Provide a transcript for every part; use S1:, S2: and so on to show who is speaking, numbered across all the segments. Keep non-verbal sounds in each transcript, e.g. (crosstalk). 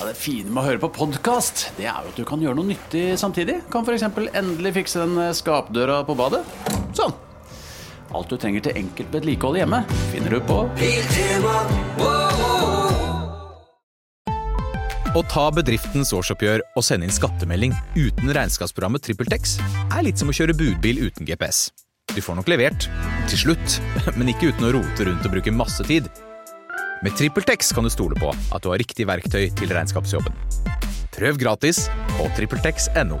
S1: Ja, det fine med å høre på podkast, det er jo at du kan gjøre noe nyttig samtidig. Kan f.eks. endelig fikse den eh, skapdøra på badet. Sånn. Alt du trenger til enkelt vedlikehold hjemme, finner du på
S2: Å ta bedriftens årsoppgjør og sende inn skattemelding uten regnskapsprogrammet TrippelTex er litt som å kjøre budbil uten GPS. Du får nok levert, til slutt, (laughs) men ikke uten å rote rundt og bruke masse tid. Med TrippelTex kan du stole på at du har riktig verktøy til regnskapsjobben. Prøv gratis på TrippelTex.no.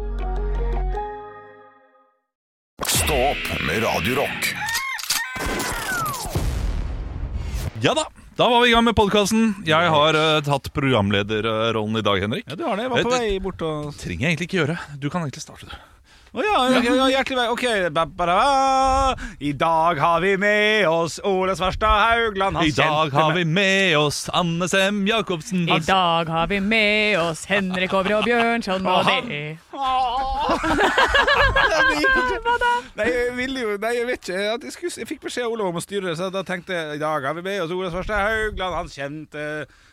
S3: Stå opp med Radio Rock.
S4: Ja da, da var vi i gang med podkasten. Jeg har eh, tatt programlederrollen i dag, Henrik.
S5: Ja, du har det. Jeg var på
S4: Vet-
S5: vei bort og
S4: Trenger jeg egentlig ikke gjøre. Du kan egentlig starte, du.
S5: Å ja, ja, ja, hjertelig vei. Ok. Ba, ba, da, ba. I dag har vi med oss Ole Svarstad Haugland. Han
S4: I dag
S5: kjente
S4: har
S5: meg-
S4: vi med oss Anne Sem Jacobsen.
S6: I dag har vi med oss Henrik Over og Bjørnson, og det er
S5: Nei, jeg ville jo Nei, jeg vet ikke. At jeg, skulle, jeg fikk beskjed av Olav om å styre det, så da tenkte jeg i dag har vi med oss Ole Svarstad Haugland. Han kjente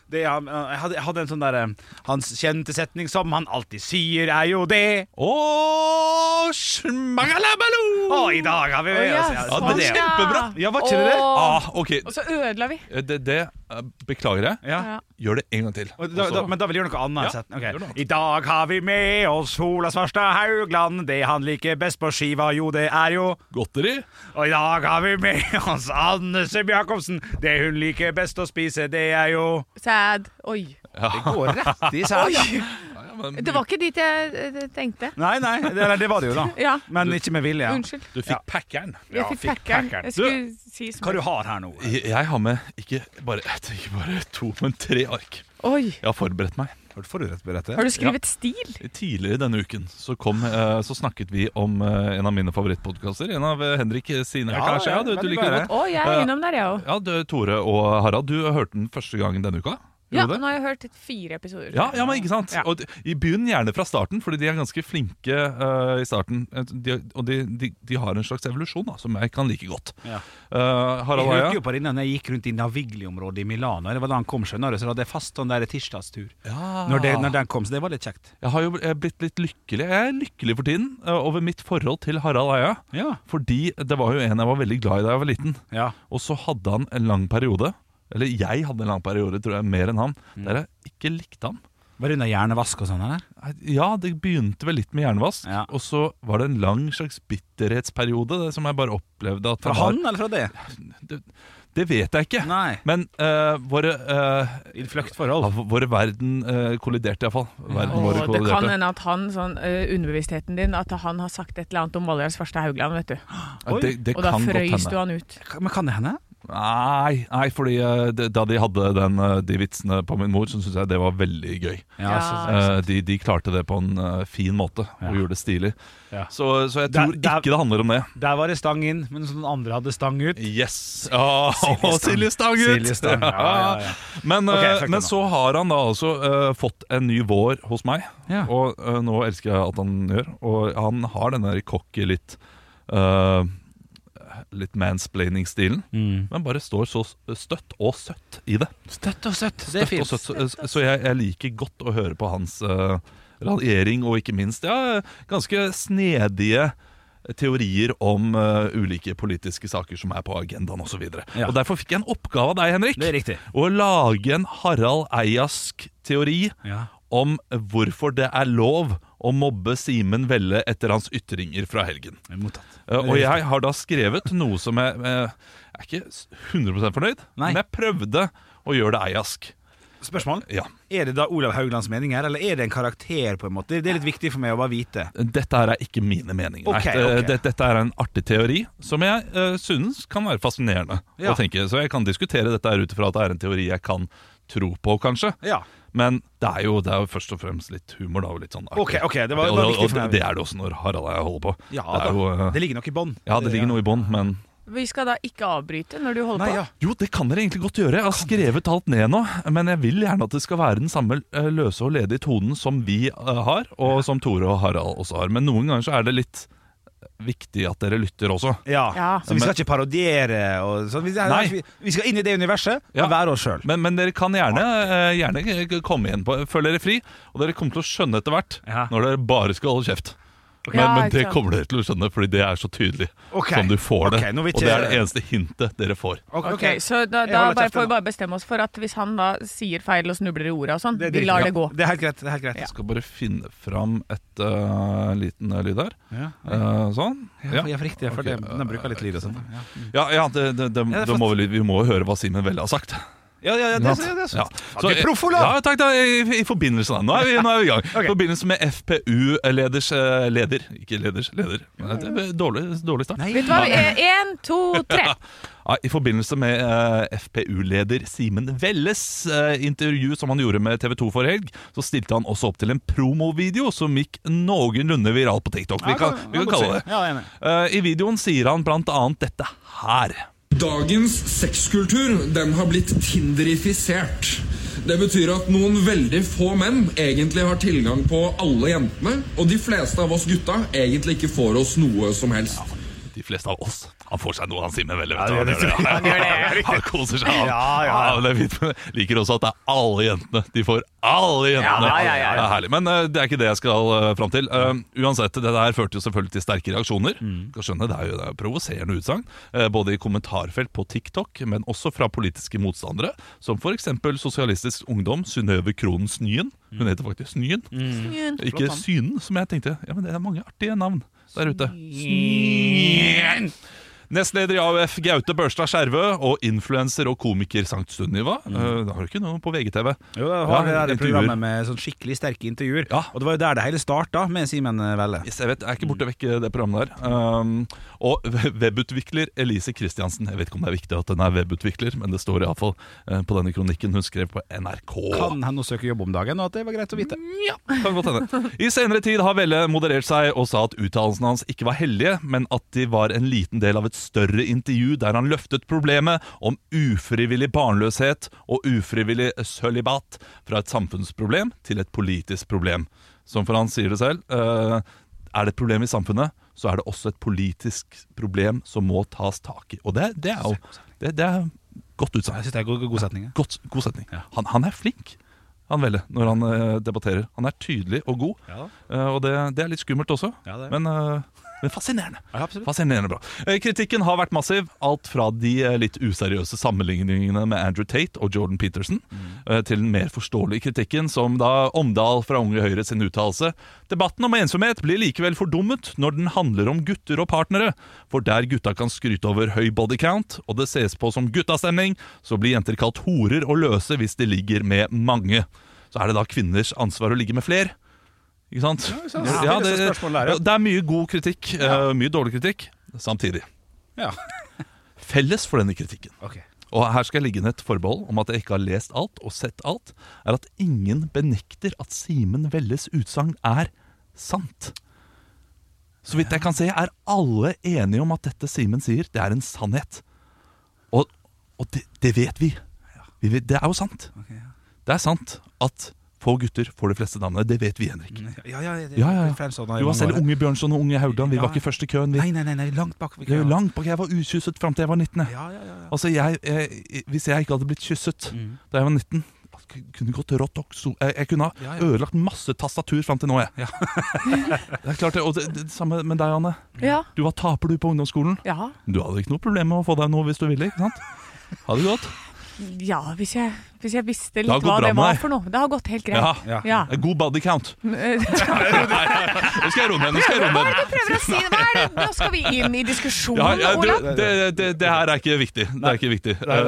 S5: det han jeg hadde, jeg hadde en sånn derre Hans kjente setning som han alltid sier, er jo det.
S4: Og smagalabalo!
S5: Og i dag har vi med
S6: Å, ja,
S5: oss
S4: Ja, det er
S6: sånn, ja.
S4: kjempebra.
S5: Ja, var ikke det det?
S6: Åh,
S4: Ah, ok,
S6: Og så ødela vi.
S4: det, det eh, beklager jeg.
S5: Ja.
S6: Ja.
S4: Gjør det en gang til.
S5: Og Da,
S4: Og så-
S5: da, men da vil jeg gjøre noe annet.
S4: Ja,
S5: sett. Ok.
S4: gjør noe annet.
S5: I dag har vi med oss Ola Svarstad Haugland. Det han liker best på skiva, jo, det er jo
S4: Godteri.
S5: Og i dag har vi med oss Anne Sem Jacobsen. Det hun liker best å spise, det er jo
S6: Sad. Oi.
S5: Det går rett i seg.
S6: Det var ikke dit jeg eh, tenkte.
S5: Nei, nei, det, eller det var det jo, da.
S6: Ja,
S5: Men ikke med vilje.
S6: unnskyld.
S4: Du fikk packeren.
S6: Jeg fikk packeren.
S5: packeren.
S6: Jeg skulle si
S5: Hva du
S6: smør.
S5: har her nå?
S4: Jeg, jeg har med ikke bare, ikke bare to, men tre ark.
S6: Oi.
S4: Jeg har forberedt meg.
S5: Har du forberedt på dette?
S6: Har du skrevet stil?
S4: Tidligere denne uken så, kom, eh, så snakket vi om eh, en av mine favorittpodkaster. En av eh, Henrik sine,
S5: Ja,
S4: kanskje. Ja, du,
S5: veldig
S4: du liker det
S5: bare.
S4: godt.
S6: Å, jeg
S4: Eh,
S6: er innom der, jeg òg.
S4: Ja, du, Tore og Harald, du hørte den første gang denne uka?
S6: Ja, nå
S4: Gjorde du det?
S6: har jeg hørt fire episoder.
S4: Ja, ja, men ikke sant?
S5: Ja.
S4: Og d- i Begynn gjerne fra starten, fordi de er ganske flinke eh, i starten. Eh, De, og de, de, de har en slags evolusjon da, som jeg kan like godt.
S5: Ja.
S4: Eh,
S5: Jeg
S4: Harald
S5: hørte jo
S4: Eia.
S5: på denne når jeg gikk rundt i Navigli-området i Milano. Det var da han kom, skjønner du, så da hadde jeg fast sånn der tirsdagstur.
S4: Ja.
S5: Når, det, når den kom, så det var litt kjekt.
S4: Jeg har jo bl- jeg er blitt litt lykkelig Jeg er lykkelig for tiden eh, over mitt forhold til Harald Eia.
S5: Ja.
S4: Fordi det var jo en jeg var veldig glad i da jeg var liten.
S5: ja.
S4: Og så hadde han en lang periode Eller jeg hadde en lang periode, tror jeg, mer enn han
S6: Mm.
S4: Der jeg ikke likte han
S5: Var det under hjernevask og sånn, eller?
S4: Ja, det begynte vel litt med jernvask
S5: Ja.
S4: Og så var det en lang slags bitterhetsperiode det Som jeg bare opplevde at
S5: Fra
S4: han
S5: han, eller fra det?
S4: var Det vet jeg ikke
S5: Nei.
S4: Men eh, våre, eh,
S5: I
S4: ja,
S5: fluktforhold.
S4: våre verden eh, kolliderte i hvert fall Verden
S6: Og
S4: våre
S6: det kan
S4: kolliderte
S6: hende at han, sånn eh, underbevisstheten din, at han har sagt et eller annet om Valgerd Svarstad Haugland, vet du.
S4: Ja, det, det
S6: Og da
S4: kan godt
S6: frøys
S4: hende.
S6: du han ut.
S5: Men kan det hende?
S4: Nei, nei fordi eh, det- da de hadde den, eh, de vitsene på min mor Så synes jeg det var veldig gøy
S6: Ja.
S5: Ah, så-
S4: Eh, de, de klarte det på en eh, fin måte
S5: Ja.
S4: og gjorde det stilig.
S5: Ja.
S4: Så, så jeg
S5: Der-
S4: tror
S5: der-
S4: ikke det handler om det.
S5: Der var det stang inn, men så den andre hadde stang ut.
S4: Yes! Oh, Silje Stang ut!
S5: Silje Stang, ja, ja, ja.
S4: Men,
S5: Ok,
S4: eh,
S5: fuck det
S4: men
S5: nå.
S4: så har han da altså eh, fått en ny vår hos meg,
S5: Ja.
S4: og eh, nå elsker jeg at han gjør. Og han har den der cocky litt eh, Litt mansplaining-stilen,
S5: Mm.
S4: men bare står så støtt og søtt i det.
S5: Støtt og søtt, det
S4: Støtt og søtt, så så jeg, jeg liker godt å høre på hans uh, raljering, og ikke minst ja, ganske snedige teorier om eh, ulike politiske saker som er på agendaen osv. videre
S5: Ja.
S4: Og derfor fikk jeg en oppgave av deg, Henrik.
S5: Det er riktig.
S4: Å lage en Harald Eiask teori
S5: Ja.
S4: om hvorfor det er lov å mobbe Simen Velle etter hans ytringer fra helgen.
S5: Mottatt.
S4: Eh, Og jeg har da skrevet noe som jeg, eh, jeg er ikke 100 fornøyd,
S5: Nei.
S4: men jeg prøvde å gjøre det Eiask.
S5: Spørsmål?
S4: Ja.
S5: Er det da Olav Hauglands mening her, eller er det en karakter, på en måte? Det er litt viktig for meg å bare vite.
S4: Dette her er ikke mine meninger. Nei,
S5: Ok,
S4: det-
S5: ok.
S4: det- Dette er en artig teori som jeg uh, synes kan være fascinerende
S5: Ja.
S4: å tenke. Så jeg kan diskutere dette her ut ifra at det er en teori jeg kan tro på, kanskje.
S5: Ja.
S4: Men det er, jo, det er jo først og fremst litt humor, da. Og litt sånn artig.
S5: Ok, ok, det var- det var
S4: og,
S5: viktig
S4: og,
S5: for meg.
S4: og det er det også når Harald og jeg holder på.
S5: Ja,
S4: det, er jo,
S5: da.
S4: eh,
S5: det ligger nok i bånn.
S4: ja, det ligger noe i bånn, men
S6: Vi skal da ikke avbryte når du holder
S5: Nei,
S6: på.
S5: ja.
S4: Jo, det kan dere egentlig godt gjøre. Jeg har skrevet alt ned nå. Men jeg vil gjerne at det skal være den samme eh, løse og ledige tonen som vi eh, har, og som Tore og Harald også har. Men noen ganger så er det litt eh, viktig at dere lytter også.
S5: Ja.
S6: Ja.
S5: Så vi skal ikke parodiere og sånn. Vi,
S4: Nei.
S5: vi, vi skal inn i det universet
S4: Ja.
S5: og være oss sjøl.
S4: Men, men dere kan gjerne, eh, gjerne eh, komme igjen på Føl dere fri, og dere kommer til å skjønne etter hvert
S5: Ja.
S4: når dere bare skal holde kjeft. Men,
S6: Ja,
S4: men
S6: ikke
S4: det
S6: sant.
S4: kommer dere til å skjønne, fordi det er så tydelig
S5: Ok.
S4: som du får det.
S5: Ok, nå vil
S4: Og
S5: ikke-
S4: det er det eneste hintet dere får.
S6: Ok, Så da,
S5: Jeg
S6: da
S5: holder
S6: bare,
S5: kjeft
S6: får
S5: nå.
S6: vi bare bestemme oss for at hvis han da sier feil og snubler i orda og sånn,
S5: Det er
S6: vi
S5: dritt.
S6: lar
S5: Ja,
S6: det gå.
S5: Det er helt greit. Det er helt greit.
S4: Jeg skal bare finne fram et eh, liten eh, lyd her.
S5: Ja.
S4: Eh, sånn.
S5: Ja, for- ja, for riktig. ja, For
S4: Ok,
S5: det, den bruker litt lyd og sånn. Ja,
S4: Ja, ja, det, det, det,
S5: det er
S4: da må vi, vi må jo høre hva Simen Velle har sagt.
S5: ja, ja, det, det, det,
S4: Ja.
S5: du er proff, Olav!
S4: Ja, takk, da, i, i forbindelse da. Nå er vi, nå er vi i gang.
S5: (laughs) Ok.
S4: I forbindelse med FPU-leders eh, leder. Ikke leders leder. Men det er Dårlig, dårlig start.
S5: Nei.
S6: Vet du hva? vi er? En, to, tre.
S4: Mm. Ja, I forbindelse med eh, FPU-leder Simen Velles eh, intervju som han gjorde med TV 2 for helg, så stilte han også opp til en promovideo som gikk noenlunde viral på TikTok. Vi kan, vi kan kalle det.
S5: Ja, jeg er enig.
S4: Eh, I videoen sier han blant annet dette her.
S7: Dagens sexkultur den har blitt tinderifisert. Det betyr at noen veldig få menn egentlig har tilgang på alle jentene, og de fleste av oss gutta egentlig ikke får oss noe som helst.
S4: De fleste av oss. Han får seg noe, han Simen Velle.
S5: Ja, det
S4: vet du
S5: gjør
S4: hva
S5: det.
S4: han gjør? Ja. (laughs) Han koser seg. Han.
S5: Ja, ja, ja.
S4: men det er fint. (laughs) Men jeg Liker også at det er alle jentene. De får alle jentene.
S5: Ja, ja, ja, ja.
S4: Det er herlig. Men eh, det er ikke det jeg skal uh, fram til. Eh, uansett, det der førte jo selvfølgelig til sterke reaksjoner.
S5: Mm.
S4: Skal skjønne, Det er jo det er provoserende utsagn. eh, både i kommentarfelt på TikTok, men også fra politiske motstandere. Som f.eks. Sosialistisk Ungdom, Synnøve Krohn Snyen.
S5: Mm.
S4: Hun heter faktisk Snyen. Ikke Synen, som jeg tenkte. Ja, men Det er mange artige navn der ute. Snyen! Nestleder i AUF Gaute Børstad Skjervø og influenser og komiker Sankt Sunniva. Eh, Da har du ikke noe på VGTV.
S5: Mm. Jo, jeg har
S4: Ja,
S5: det der
S4: intervjuer.
S5: programmet med sånn skikkelig sterke intervjuer.
S4: Ja.
S5: Og det var jo der det hele starta, med Simen eh, Velle.
S4: Yes, jeg vet, jeg er ikke borte vekk eh, det programmet der. Um, og (laughs) webutvikler Elise Kristiansen. Jeg vet ikke om det er viktig at hun er webutvikler, men det står iallfall eh, på denne kronikken hun skrev på NRK.
S5: Kan henne søke jobb om dagen, og at det var greit å vite.
S4: Kan godt hende. I senere tid har Velle moderert seg og sa at uttalelsene hans ikke var hellige, men at de var en liten del av et større intervju der han løftet problemet om ufrivillig barnløshet og ufrivillig sølibat fra et samfunnsproblem til et politisk problem. Som for han sier det selv, eh, er det et problem i samfunnet, så er det også et politisk problem som må tas tak i. Og det, det er jo det, det er godt utsagn.
S5: Jeg syns det er god, god setning. ja.
S4: Godt, god setning. Han, han er flink, han Velle, når han eh, debatterer. Han er tydelig og god, Eh, og det, det er litt skummelt også.
S5: Ja, det er.
S4: men, eh, men fascinerende.
S5: Ja, absolutt.
S4: Fascinerende bra. Eh, Kritikken har vært massiv. Alt fra de eh, litt useriøse sammenligningene med Andrew Tate og Jordan Peterson, eh, til den mer forståelige kritikken, som da Omdal fra Unge Høyre sin uttalelse. Debatten om ensomhet blir likevel fordummet når den handler om gutter og partnere. For der gutta kan skryte over høy body count, og det ses på som guttastemning, så blir jenter kalt horer og løse hvis de ligger med mange. Så er det da kvinners ansvar å ligge med fler. Ikke sant?
S5: sant? Ja, det er det som spørsmålet er, ja.
S4: det er mye god kritikk, eh, mye dårlig kritikk, samtidig.
S5: Ja.
S4: Felles for denne kritikken,
S5: (laughs) Ok.
S4: og her skal jeg ligge ned et forbehold om at jeg ikke har lest alt og sett alt, er at ingen benekter at Simen Velles utsagn er sant. Så vidt jeg kan se, er alle enige om at dette Simen sier, det er en sannhet. Og, og det, det vet vi. vi vet, det er jo sant. Det er sant at få gutter får de fleste damene. Det vet vi, Henrik.
S5: Mm, Ja, ja, det-
S4: Ja, ja, ja.
S5: Friends og-
S4: Du var selv unge Bjørnson og unge Haugland. Vi
S5: Ja.
S4: var ikke først i køen. Vi
S5: Nei, nei, nei, nei, langt bak.
S4: det er jo langt bak. Jeg var ukysset fram til jeg var 19. jeg.
S5: Ja, ja, ja, ja.
S4: Altså, jeg, jeg, hvis jeg ikke hadde blitt kysset
S5: Mm.
S4: da jeg var 19 jeg kunne gått rått og so- jeg, jeg kunne ha
S5: Ja, ja.
S4: ødelagt masse tastatur fram til nå, jeg. (laughs) det er klart det, og det, det samme med deg, Anne.
S6: Ja.
S4: Du var taper du på ungdomsskolen.
S6: Ja.
S4: Du hadde ikke noe problem med å få deg noe hvis du ville. ikke sant? Ha det godt.
S6: ja hvis, jeg, hvis jeg visste
S4: har
S6: litt hva
S4: gått bra
S6: det
S4: med
S6: var
S4: deg.
S6: for noe. Det har gått helt
S4: Ja.
S6: greit. Ja.
S4: God body count. Nå skal jeg roe meg. Nå skal jeg roe meg.
S6: Jeg prøver å si det. (laughs) Hva er det? Nå skal vi inn i diskusjonen,
S4: Ja, ja,
S6: Olav.
S4: det, det, det, det her er ikke viktig. Det er ikke viktig.
S6: Du
S4: Eh, det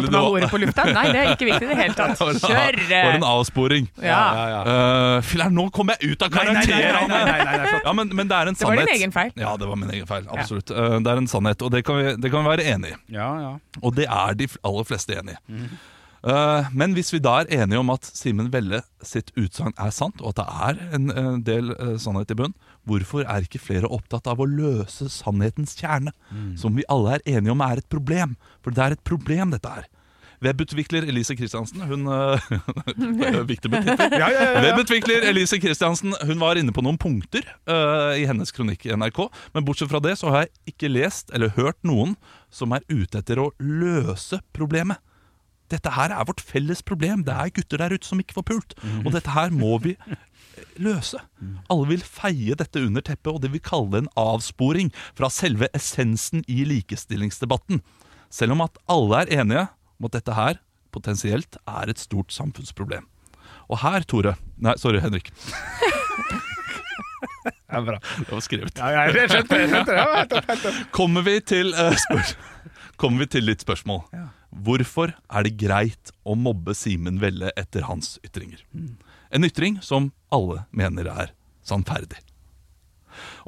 S6: kalte meg
S4: det
S6: hore
S4: (laughs)
S6: på lufta? Nei, det er ikke viktig i det hele tatt.
S4: var- (laughs) det
S6: Kjør!
S4: var en avsporing.
S6: Ja.
S4: Eh, Filler'n, nå kom jeg ut av
S5: Ah. (laughs) Nei, nei, nei,
S4: karakter!
S5: nei, nei, nei, nei, nei, flott.
S4: Ja, men, men det er
S6: var
S4: en sannhet.
S6: din egen feil.
S4: Ja, det var min egen feil. Absolutt. Eh, Det er en sannhet, og det kan vi, det kan vi være enig i.
S5: Ja, ja.
S4: Og det er de f- aller fleste enig i. Eh, Men hvis vi da er enige om at Simen Velle sitt utsagn er sant, og at det er en eh, del eh, sannhet i bunn, hvorfor er ikke flere opptatt av å løse sannhetens kjerne,
S8: Mm.
S4: som vi alle er enige om er et problem? For det er et problem, dette her. Webutvikler Elise Kristiansen Hun eh, det er jo viktig med titler.
S5: Ja, ja, ja, ja.
S4: Webutvikler Elise Kristiansen Hun var inne på noen punkter eh, i hennes kronikk i NRK. Men bortsett fra det så har jeg ikke lest eller hørt noen som er ute etter å løse problemet. Dette her er vårt felles problem. Det er gutter der ute som ikke får pult.
S5: Mhm.
S4: Og dette her må vi løse. Alle vil feie dette under teppet, og de vil kalle det en avsporing fra selve essensen i likestillingsdebatten. Selv om at alle er enige om at dette her potensielt er et stort samfunnsproblem. Og her, Tore Nei, sorry, Henrik.
S5: Det er bra.
S4: Det var skrevet.
S5: Ja, ja, jeg skjønte det, jeg skjønte det. Ja, vent opp, vent
S4: Kommer vi til eh, spørs- Kommer vi til litt spørsmål. Hvorfor er det greit å mobbe Simen Velle etter hans ytringer?
S8: Mm.
S4: En ytring som alle mener er sannferdig.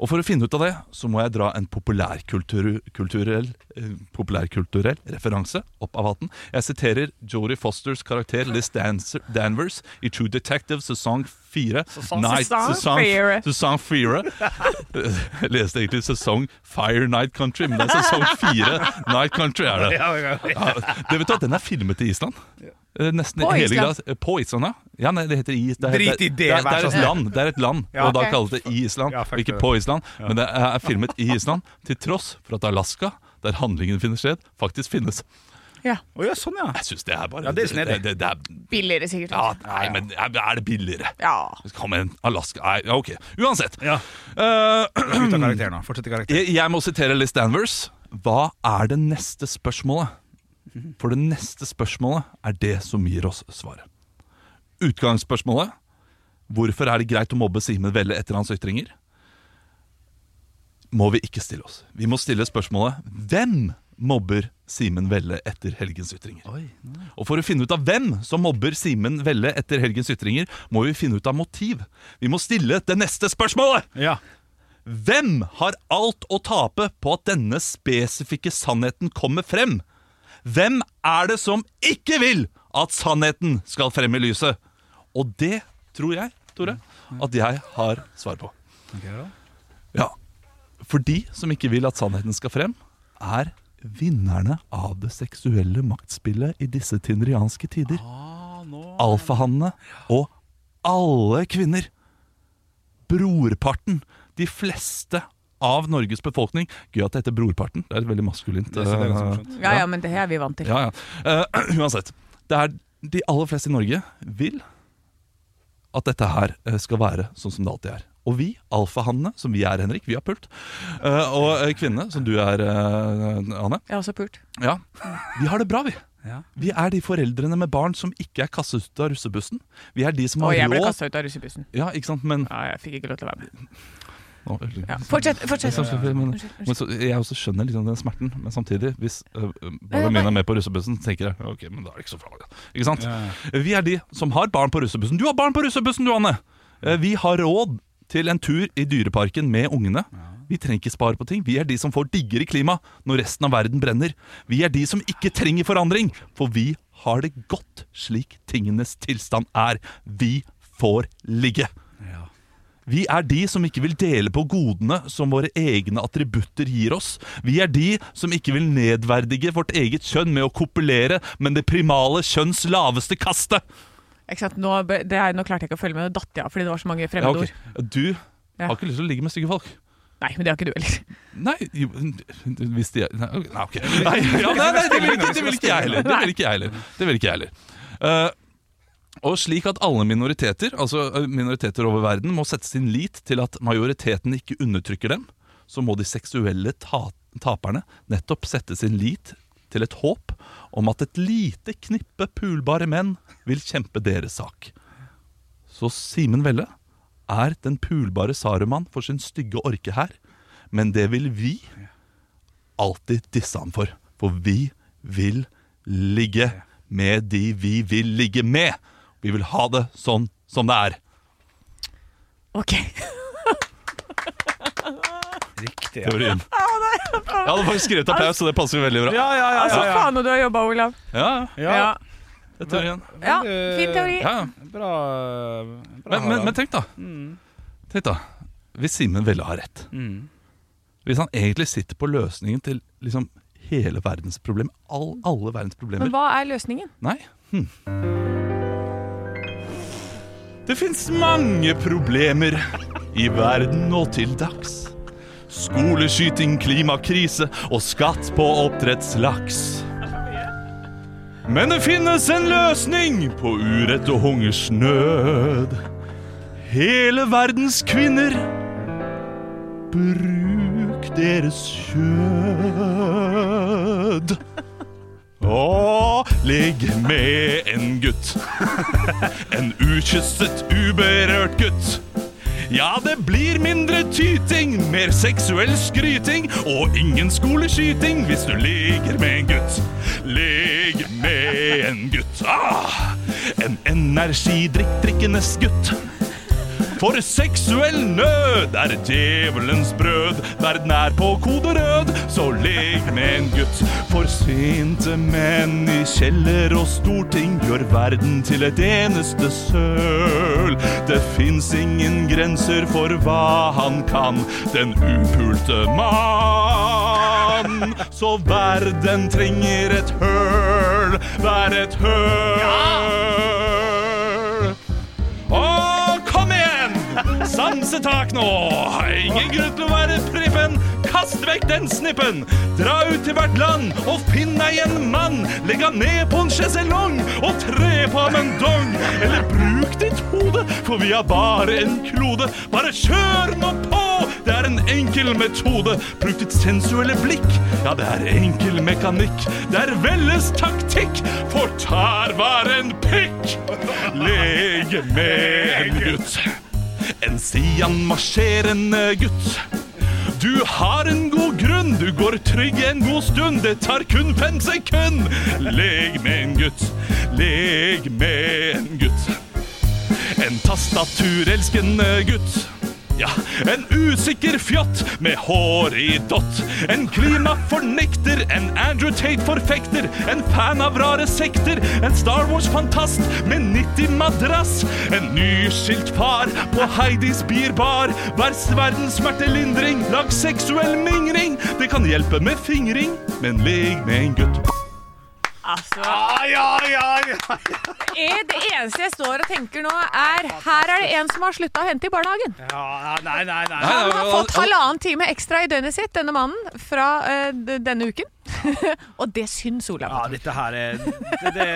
S4: Og for å finne ut av det, så må jeg dra en populærkultur- kulturell, eh, populærkulturell referanse opp av hatten. Jeg siterer Jodie Fosters karakter Liz Dancer, Danvers i True Detective sesong 4.
S8: Sesong- sesong fire.
S4: Sesong 4.
S8: (laughs)
S4: Jeg leste egentlig sesong Fire Night Country, men det er sesong 4 Night Country er det.
S5: (laughs) Ja, ja, ja.
S4: Ja, det vet du at den er filmet i Island? Eh, Nesten
S5: På
S4: hele
S5: Island?
S4: glas- eh, På Island, ja. ja nei, det heter is. Det er,
S5: Drit i
S4: det er-
S5: det,
S4: det er,
S5: vær
S4: det er
S5: så
S4: et
S5: snill.
S4: land, det er et land
S5: Ja.
S4: og da
S5: Ok.
S4: kalles det i Island,
S5: Ja, fuck
S4: og ikke
S5: det.
S4: på Island. Men det er filmet i Island, til tross for at Alaska, der handlingen finner sted, faktisk finnes.
S6: Ja.
S5: Å ja, sånn, ja.
S4: Jeg synes det er bare
S5: Ja, det er snedig.
S4: det, det, det er
S6: Billigere, sikkert.
S4: ja, nei, men er er det billigere?
S6: Ja.
S4: Kom igjen, Alaska Nei, ja, ok. Uansett. Eh, (clears throat)
S5: Ut av karakter nå. Fortsett i karakter.
S4: jeg, jeg må sitere Liz Danvers. Hva er det neste spørsmålet? For det neste spørsmålet er det som gir oss svaret. Utgangsspørsmålet Hvorfor er det greit å mobbe Simen Velle etter hans ytringer? Må vi ikke stille oss. Vi må stille spørsmålet Hvem mobber Simen Velle etter helgens ytringer? Og for å finne ut av hvem som mobber Simen Velle etter helgens ytringer, må vi finne ut av motiv. Vi må stille det neste spørsmålet! Hvem har alt å tape på at denne spesifikke sannheten kommer frem? Hvem er det som ikke vil at sannheten skal frem i lyset? Og det tror jeg, Tore, at jeg har svar på. Ja, for de som ikke vil at sannheten skal frem, er vinnerne av det seksuelle maktspillet i disse tindrianske tider.
S6: Ah,
S4: Alfahannene og alle kvinner. Brorparten. De fleste av Norges befolkning. Gøy at det heter brorparten. Det er et veldig maskulint
S6: Det er
S4: eh,
S6: Ja, ja, men det her er vi vant til.
S4: ja, ja. Eh, (clears throat) uansett. Det er de aller fleste i Norge vil at dette her eh, skal være sånn som det alltid er. Og vi, alfahannene, som vi er, Henrik, vi har pult. Eh, og eh, kvinnene, som du er, eh, Anne.
S6: Jeg har også pult.
S4: Ja, Vi har det bra, vi. Vi er de foreldrene med barn som ikke er kastet ut av russebussen. Vi er de som
S6: Og
S4: har
S6: jeg ble
S4: råd
S6: kasta ut av russebussen.
S4: Ja, ikke sant, men
S6: Ja, jeg fikk ikke lov til å være med.
S4: Nå-
S6: Ja, fortsett, fortsett.
S4: Sånn, sånn, Men,
S6: Unnskyld, unnskyld.
S4: men så, jeg også skjønner liksom den smerten, men samtidig, hvis øh, øh, barna mine er med på russebussen, så tenker jeg ok, men da er det ikke så farlig. Ikke sant? Vi er de som har barn på russebussen. Du har barn på russebussen, du, Anne! Eh, Vi har råd til en tur i dyreparken med ungene. Vi trenger ikke spare på ting. Vi er de som får diggere klima når resten av verden brenner. Vi er de som ikke trenger forandring, for vi har det godt slik tingenes tilstand er. Vi får ligge. Vi er de som ikke vil dele på godene som våre egne attributter gir oss. Vi er de som ikke vil nedverdige vårt eget kjønn med å kopulere, men det primale kjønns laveste kaste.
S6: Ikke sant? Nå, be- det er, nå klarte jeg ikke å følge med, nå datt jeg av fordi det var så mange
S4: Ja,
S6: fremmedord.
S4: ok. Du
S6: Ja.
S4: har ikke lyst til å ligge med stygge folk.
S6: Nei, men det har ikke du heller. (laughs)
S4: Nei, jo, hvis de er Nei, ok. Nei, ok. nei, ja, nei, nei det, vil ikke, det vil ikke jeg heller. Det vil ikke jeg heller. Det vil ikke jeg heller. Eh, og slik at alle minoriteter, altså eh, minoriteter over verden, må sette sin lit til at majoriteten ikke undertrykker dem, så må de seksuelle ta taperne nettopp sette sin lit til et håp om at et lite knippe pulbare menn vil kjempe deres sak. Så Simen Velle er den pulbare Saruman for sin stygge orke her, men det vil vi alltid disse ham for. For vi vil ligge med de vi vil ligge med. Vi vil ha det sånn som det er.
S6: Ok.
S5: Riktig.
S4: Teorien.
S6: Å, nei, faen.
S4: Jeg hadde faktisk skrevet applaus, så det passer jo veldig bra.
S6: Altså, faen, og du har jobba, Olav.
S4: Ja, ja.
S6: Ja. eh,
S4: Det er teorien.
S6: Ja, fin teori.
S4: Ja, ja.
S5: Bra, eh, bra
S4: Men, men,
S5: Harald.
S4: men tenk, da. Tenk da Hvis Simen Velle har rett
S5: Mm.
S4: Hvis han egentlig sitter på løsningen til liksom hele verdens problem all, Alle verdens problemer
S6: Men hva er løsningen?
S4: Nei hm. Det finnes mange problemer i verden og til dags Skoleskyting, klimakrise og skatt på oppdrettslaks Men det finnes en løsning på urett og hungersnød Hele verdens kvinner Bruk deres kjød og ligg med en gutt. (laughs) En ukysset, uberørt gutt. Ja, det blir mindre tyting, mer seksuell skryting og ingen skoleskyting hvis du ligger med en gutt. Ligg med en gutt. Ah, en energidrikk-drikkendes gutt. For seksuell nød er djevelens brød. Verden er på kode rød, så ligg med en gutt. For sinte menn i kjeller og storting gjør verden til et eneste søl. Det fins ingen grenser for hva han kan, den upulte mann. Så verden trenger et høl, vær et høl. Og kom igjen! Sansetak nå! Ingen grunn til å være prippen. Kast vekk den snippen. Dra ut til hvert land og finn deg en mann. Legg han ned på en sjeselong og tre på ham en dong. Eller bruk ditt hode, for vi har bare en klode. Bare kjør nå på! Det er en enkel metode. Bruk ditt sensuelle blikk. Ja, det er enkel mekanikk. Det er Velles taktikk, for tar var en pikk. Lege med en gutt. En sian marsjerende gutt. Du har en god grunn, du går trygg en god stund. Det tar kun fem sekund. Leg med en gutt, leg med en gutt. En tastaturelskende gutt. Ja, en usikker fjott med hår i dott. En klimafornekter, en Andrew Tate-forfekter. En fan av rare sekter, en Star Wars-fantast med 90 madrass. En nyskilt far på Heidis bierbar. Vær verdens smertelindring, lag seksuell mingring. Det kan hjelpe med fingring, men ligg med en gutt.
S6: Altså,
S5: Ai, ai, ai, ai.
S6: Eh, Det eneste jeg står og tenker nå, er her er det en som har slutta å hente i barnehagen.
S5: Ja, nei, nei, nei.
S6: Han har fått halvannen time ekstra i døgnet sitt, denne mannen, fra eh, d- denne (laughs) uken. og det syns Olav.
S5: Ja, dette her er det, det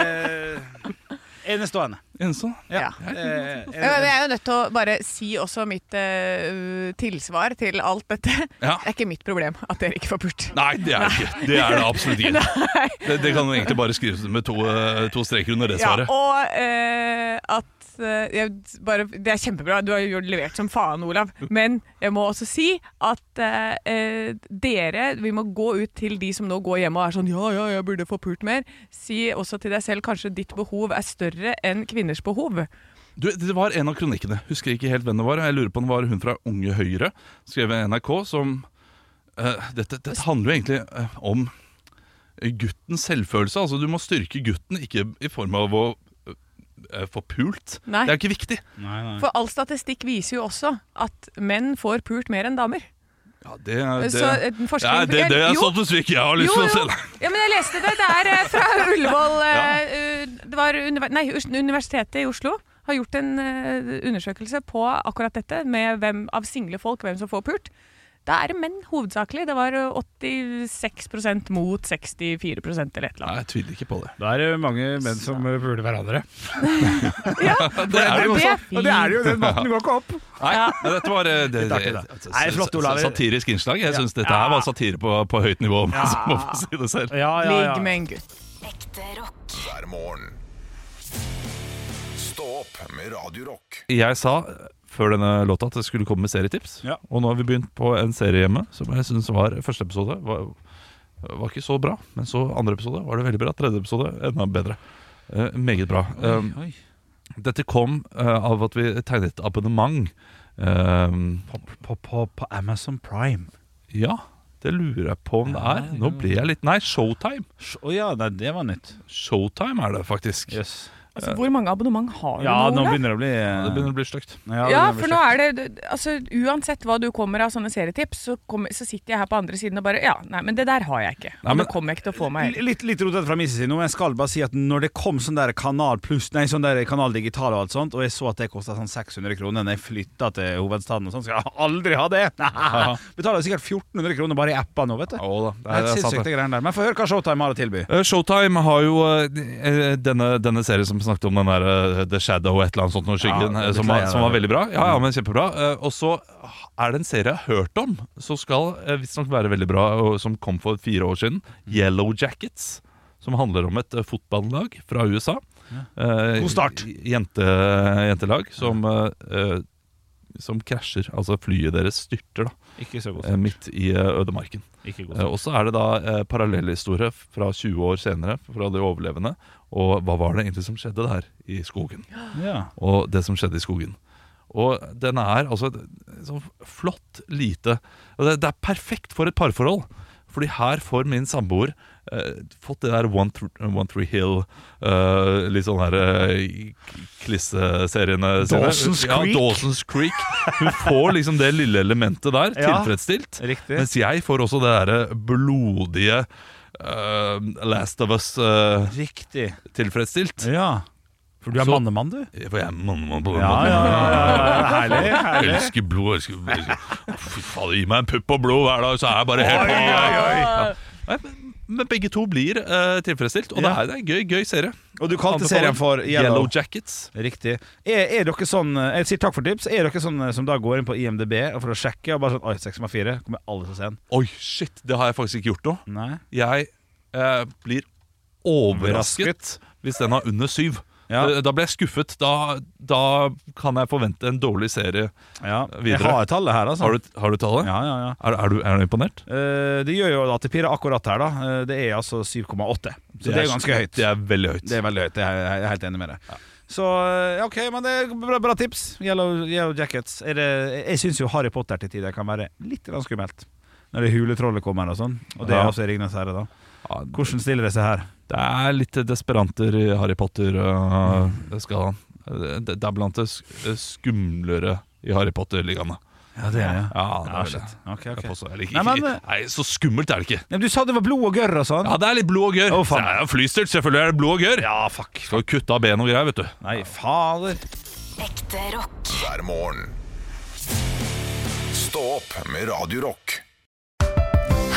S5: er Enestående. Eh,
S4: Enestående?
S5: Ja.
S6: Ja, men Jeg er jo nødt til å bare si også mitt eh, tilsvar til alt dette.
S4: Ja.
S6: Det er ikke mitt problem at dere ikke får pult.
S4: Nei, det er det ikke. Det er det absolutt ikke.
S6: (laughs) Nei.
S4: Det, det kan egentlig bare skrives med to, eh, to streker under det
S6: Ja,
S4: svaret.
S6: og eh, at eh, jeg bare, Det er kjempebra, du har jo levert som faen, Olav. Men jeg må også si at eh, eh, dere Vi må gå ut til de som nå går hjem og er sånn Ja, ja, jeg burde få pult mer. Si også til deg selv kanskje ditt behov er større enn kvinners behov.
S4: Du, det var en av kronikkene. Husker ikke helt hvem det var. Jeg lurer på om det var hun fra Unge Høyre, skrev i NRK, som eh, dette, dette handler jo egentlig eh, om guttens selvfølelse. Altså, du må styrke gutten, ikke i form av å eh, få pult.
S6: Nei.
S4: Det er jo ikke viktig.
S6: For all statistikk viser jo også at menn får pult mer enn damer.
S4: Ja, det, er- det,
S6: Så, eh, den forskningen-
S4: ja, det, det er sånn
S6: Jo.
S4: sånt statistikk jeg har lyst
S6: Jo,
S4: til å
S6: jo.
S4: se. da.
S6: Ja, men jeg leste det. Det er eh,
S4: (laughs)
S6: fra Ullevål eh, eh, Det var univer nei, Us- Universitetet i Oslo har gjort en eh, undersøkelse på akkurat dette, med hvem av single folk, hvem som får pult. Da er det menn hovedsakelig. Det var eh, 86 mot 64 eller et eller annet.
S4: Nei, jeg tviler ikke på det.
S5: Da er det mange menn som puler hverandre.
S4: det er det jo også.
S5: Og det er det jo, den matten går ikke opp.
S4: Nei, men dette var eh, det,
S5: Litt artig, da. Nei, flott, Olav.
S4: satirisk innslag. Jeg syns dette her var satire på, på høyt nivå. om jeg må få si det selv.
S6: Ligg med en gutt.
S3: Ekte rock. Hver morgen. Stå opp med Radio Rock.
S4: Jeg sa før denne låta at det skulle komme med serietips.
S3: Ja.
S4: Og nå har vi begynt på en serie hjemme som jeg syns var første episode var, var ikke så bra. Men så andre episode var det veldig bra. Tredje episode enda bedre. Eh, meget bra. Um,
S5: oi.
S4: Dette kom eh, av at vi tegnet abonnement. Um,
S5: På, på, på Amazon Prime.
S4: ja, Det lurer jeg på om det er. Nå ble jeg litt Nei, Showtime.
S5: Å ja, nei, det var nytt.
S4: Showtime er det faktisk.
S6: Altså, hvor mange abonnement har du nå, Olav?
S4: det å bli Det begynner å bli stygt.
S5: eh,
S6: Ja, for nå er det altså, Uansett hva du kommer av sånne serietips, så, kommer, så sitter jeg her på andre siden og bare Ja, nei, men det der har jeg ikke. Og
S5: Nei, men-
S6: det kommer jeg ikke til å få meg.
S5: L- Litt, litt rotete fra min side nå, men jeg skal bare si at når det kom sånn der Kanal Plus, nei, sånn der Kanal Digital og alt sånt, og jeg så at det kosta sånn 600 kroner når jeg flytta til hovedstaden og sånn, skal jeg aldri ha det! (laughs) Betaler sikkert 1400 kroner bare i appa nå, vet du. det er
S4: det er
S5: helt
S4: sant
S5: sinnssykt,
S4: det.
S5: det greiene der. Men få høre hva Showtime har å tilby.
S4: Eh, Showtime har jo eh, eh, denne, denne serien som vi snakket om, den der eh, The Shadow et eller annet sånt, noe skyggen,
S5: Ja, Mm.
S4: eh, som, var,
S5: beklager.
S4: som var veldig bra. Ja, ja, men kjempebra. Eh, Og så er det en serie jeg har hørt om, som skal eh, visstnok være veldig bra, og som kom for fire
S5: Mm.
S4: år siden. Yellow Jackets. Som handler om et eh, fotballag fra USA. Eh,
S5: God start.
S4: Jente, jentelag som, eh, eh, som krasjer. Altså flyet deres styrter, da.
S5: Ikke så god
S4: Eh, Midt i eh, ødemarken.
S5: Ikke god
S4: Eh, Og så er det da eh, parallellhistorie fra 20 år senere fra de overlevende. Og hva var det egentlig som skjedde der i skogen?
S5: Ja.
S4: Og det som skjedde i skogen. Og den er altså et sånn flott lite og det, det er perfekt for et parforhold. Fordi her får min samboer eh, fått det der One, Thr- One Tree Hill eh, Litt sånn her eh, klisseseriene sine.
S5: Dawson's
S4: ja,
S5: Creek.
S4: Dawson's Creek. Hun får liksom det lille elementet der
S5: Ja,
S4: tilfredsstilt.
S5: riktig.
S4: Mens jeg får også det derre blodige eh, Last of Us eh,
S5: Riktig.
S4: tilfredsstilt.
S5: Ja. For du er mannemann, du?
S4: For jeg er mannemann. på den
S5: Ja,
S4: måten.
S5: ja, ja, ja, ja. Herlig, herlig.
S4: Elsker blod. Elsker, elsker. Fy fader, gi meg en pupp og blod hver dag, så er jeg bare helt Ja. Nei, men- Men begge to blir eh, tilfredsstilt, og
S5: Ja.
S4: det, er, det er en gøy, gøy serie.
S5: Og du kalte serien for Yellow-
S4: Yellow Jackets.
S5: Riktig. Er, er dere sånn Jeg sier takk for tips. Er dere sånn som da går inn på IMDb for å sjekke og bare sånn Oi, 6,4. Kommer alle til å se den.
S4: Oi, shit, det har jeg faktisk ikke gjort nå.
S5: Nei.
S4: Jeg eh, blir overrasket
S5: Overrasket.
S4: hvis den har under syv.
S5: Ja.
S4: Eh, Da blir jeg skuffet. Da, da kan jeg forvente en dårlig serie
S5: Ja,
S4: videre.
S5: Jeg har tallet her, altså.
S4: Har du, har du tallet?
S5: Ja, ja, ja.
S4: Er, er, du, er du imponert?
S5: Eh, det gjør jo at det pirrer akkurat her, da. Eh, det er altså 7,8. Så det er ganske høyt.
S4: Det er veldig høyt.
S5: Det er veldig høyt, jeg er, jeg er helt enig med deg. Så eh, OK, men det er bra, bra tips. Yellow, yellow Jackets. Er det, jeg syns jo Harry Potter til tider kan være litt grann skummelt. Når det huletrollet kommer og sånn. Og det er
S4: Ja.
S5: også i Ringenes herre, da.
S4: Ja,
S5: Hvordan stiller det seg her?
S4: Det er litt desperanter i Harry eh, Potter-skalaen. det, det er blant det sk- eh, skumlere i Harry Potter-ligaene.
S5: Ja, det er det.
S4: Ja, det
S5: Ah,
S4: er det.
S5: shit. Ok, ok.
S4: Jeg påstår- eller ikke-
S5: Nei, men-
S4: ikke- Nei, så skummelt er det ikke.
S5: Nei, men du sa det var blod og gørr og sånn.
S4: Ja, det er litt blod og gørr.
S5: Å, faen.
S4: det er jo flystyrt, selvfølgelig er det blod og gørr.
S5: Ja, fuck.
S4: Skal jo kutte av ben og greier, vet du.
S5: Nei, fader.
S3: Ekte rock. Hver morgen. Stå opp med Radio Rock.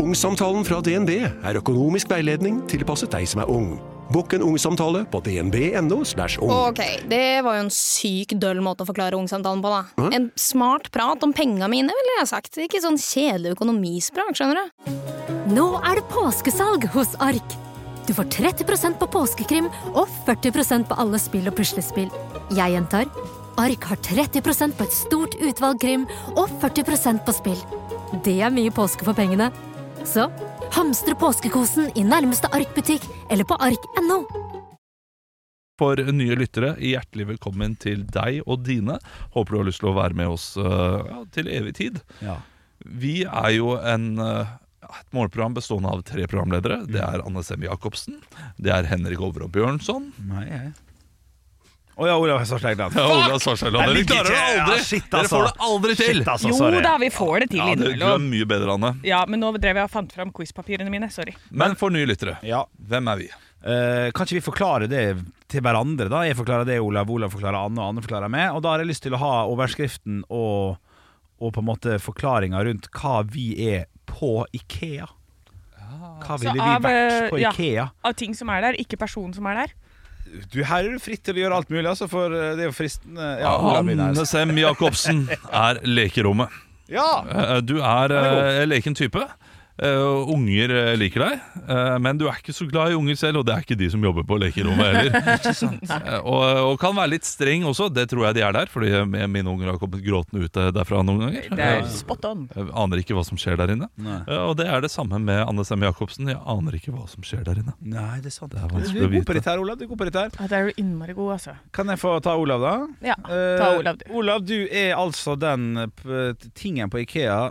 S9: Ungsamtalen fra DNB er økonomisk veiledning tilpasset deg som er ung. Bokk en ungsamtale på dnb.no. slash ung.
S10: Ok, det var jo en syk døll måte å forklare ungsamtalen på, da.
S9: Hæ?
S10: En smart prat om penga mine, ville jeg sagt. Ikke sånn kjedelig økonomisprat, skjønner du.
S11: Nå er det påskesalg hos Ark. Du får 30 på påskekrim og 40 på alle spill og puslespill. Jeg gjentar Ark har 30 på et stort utvalg krim og 40 på spill. Det er mye påske for pengene. Så hamstre påskekosen i nærmeste Ark-butikk eller på ark.no.
S4: For nye lyttere, hjertelig velkommen til deg og dine. Håper du har lyst til å være med oss eh, ja, til evig tid.
S5: Ja.
S4: Vi er jo en, eh, et morgenprogram bestående av tre programledere. Det
S5: Mm.
S4: er Anne Sem Jacobsen, det er Henrik Overå Bjørnson
S5: Nei, jeg Å ja, Olav Svarslegland.
S4: Ja, Olav Svarslegland, dere klarer det aldri. Dere får det aldri til.
S5: Shit, altså,
S6: Jo
S5: sorry.
S6: da, vi får det til
S4: Ja, det, du er
S6: innimellom.
S4: mye bedre, Anne.
S6: Ja, men nå drev jeg og fant fram quizpapirene mine. Sorry.
S4: Men for nye lyttere,
S5: Ja.
S4: hvem er vi?
S5: Eh, kan ikke vi forklare det til hverandre? da? Jeg forklarer det, Olav. Olav forklarer Anne, og Anne forklarer meg. Og da har jeg lyst til å ha overskriften og, og på en måte forklaringa rundt hva vi er på Ikea. Hva
S6: Så
S5: ville vi
S6: av,
S5: vært på
S6: eh, ja,
S5: Ikea?
S6: Av ting som er der, ikke personen som er der.
S5: Du, Her er du fritt til å gjøre alt mulig, altså, for eh, det er jo fristende. Ja, Olav begynner
S4: Anne
S5: her.
S4: Sem
S5: (laughs)
S4: Jacobsen er lekerommet.
S5: ja.
S4: Eh, Du er
S5: er
S4: eh, leken type. Eh, Eh, unger eh, liker deg, eh, men du er ikke så glad i unger selv, og det er ikke de som jobber på
S5: (laughs)
S4: lekerommet heller. Eh, og, og kan være litt streng også, det tror jeg de er der, fordi eh, mine unger har kommet gråtende ut eh, derfra noen ganger.
S8: Det er spot on.
S4: Jeg aner ikke hva som skjer der inne.
S8: Nei.
S4: Eh, Og det er det samme med Anne Semme Jacobsen. Jeg aner ikke hva som skjer der inne.
S5: Nei, det er sant.
S4: Det er
S5: Du
S4: vanskelig
S5: er
S4: å
S5: god på
S4: vite.
S5: dette her, Olav. Du er god på dette her.
S6: Ja, det er du innmari god, altså.
S5: Kan jeg få ta Olav, da?
S6: Ja,
S5: Eh,
S6: ta Olav, du.
S5: Olav, du er altså den eh, p- tingen på Ikea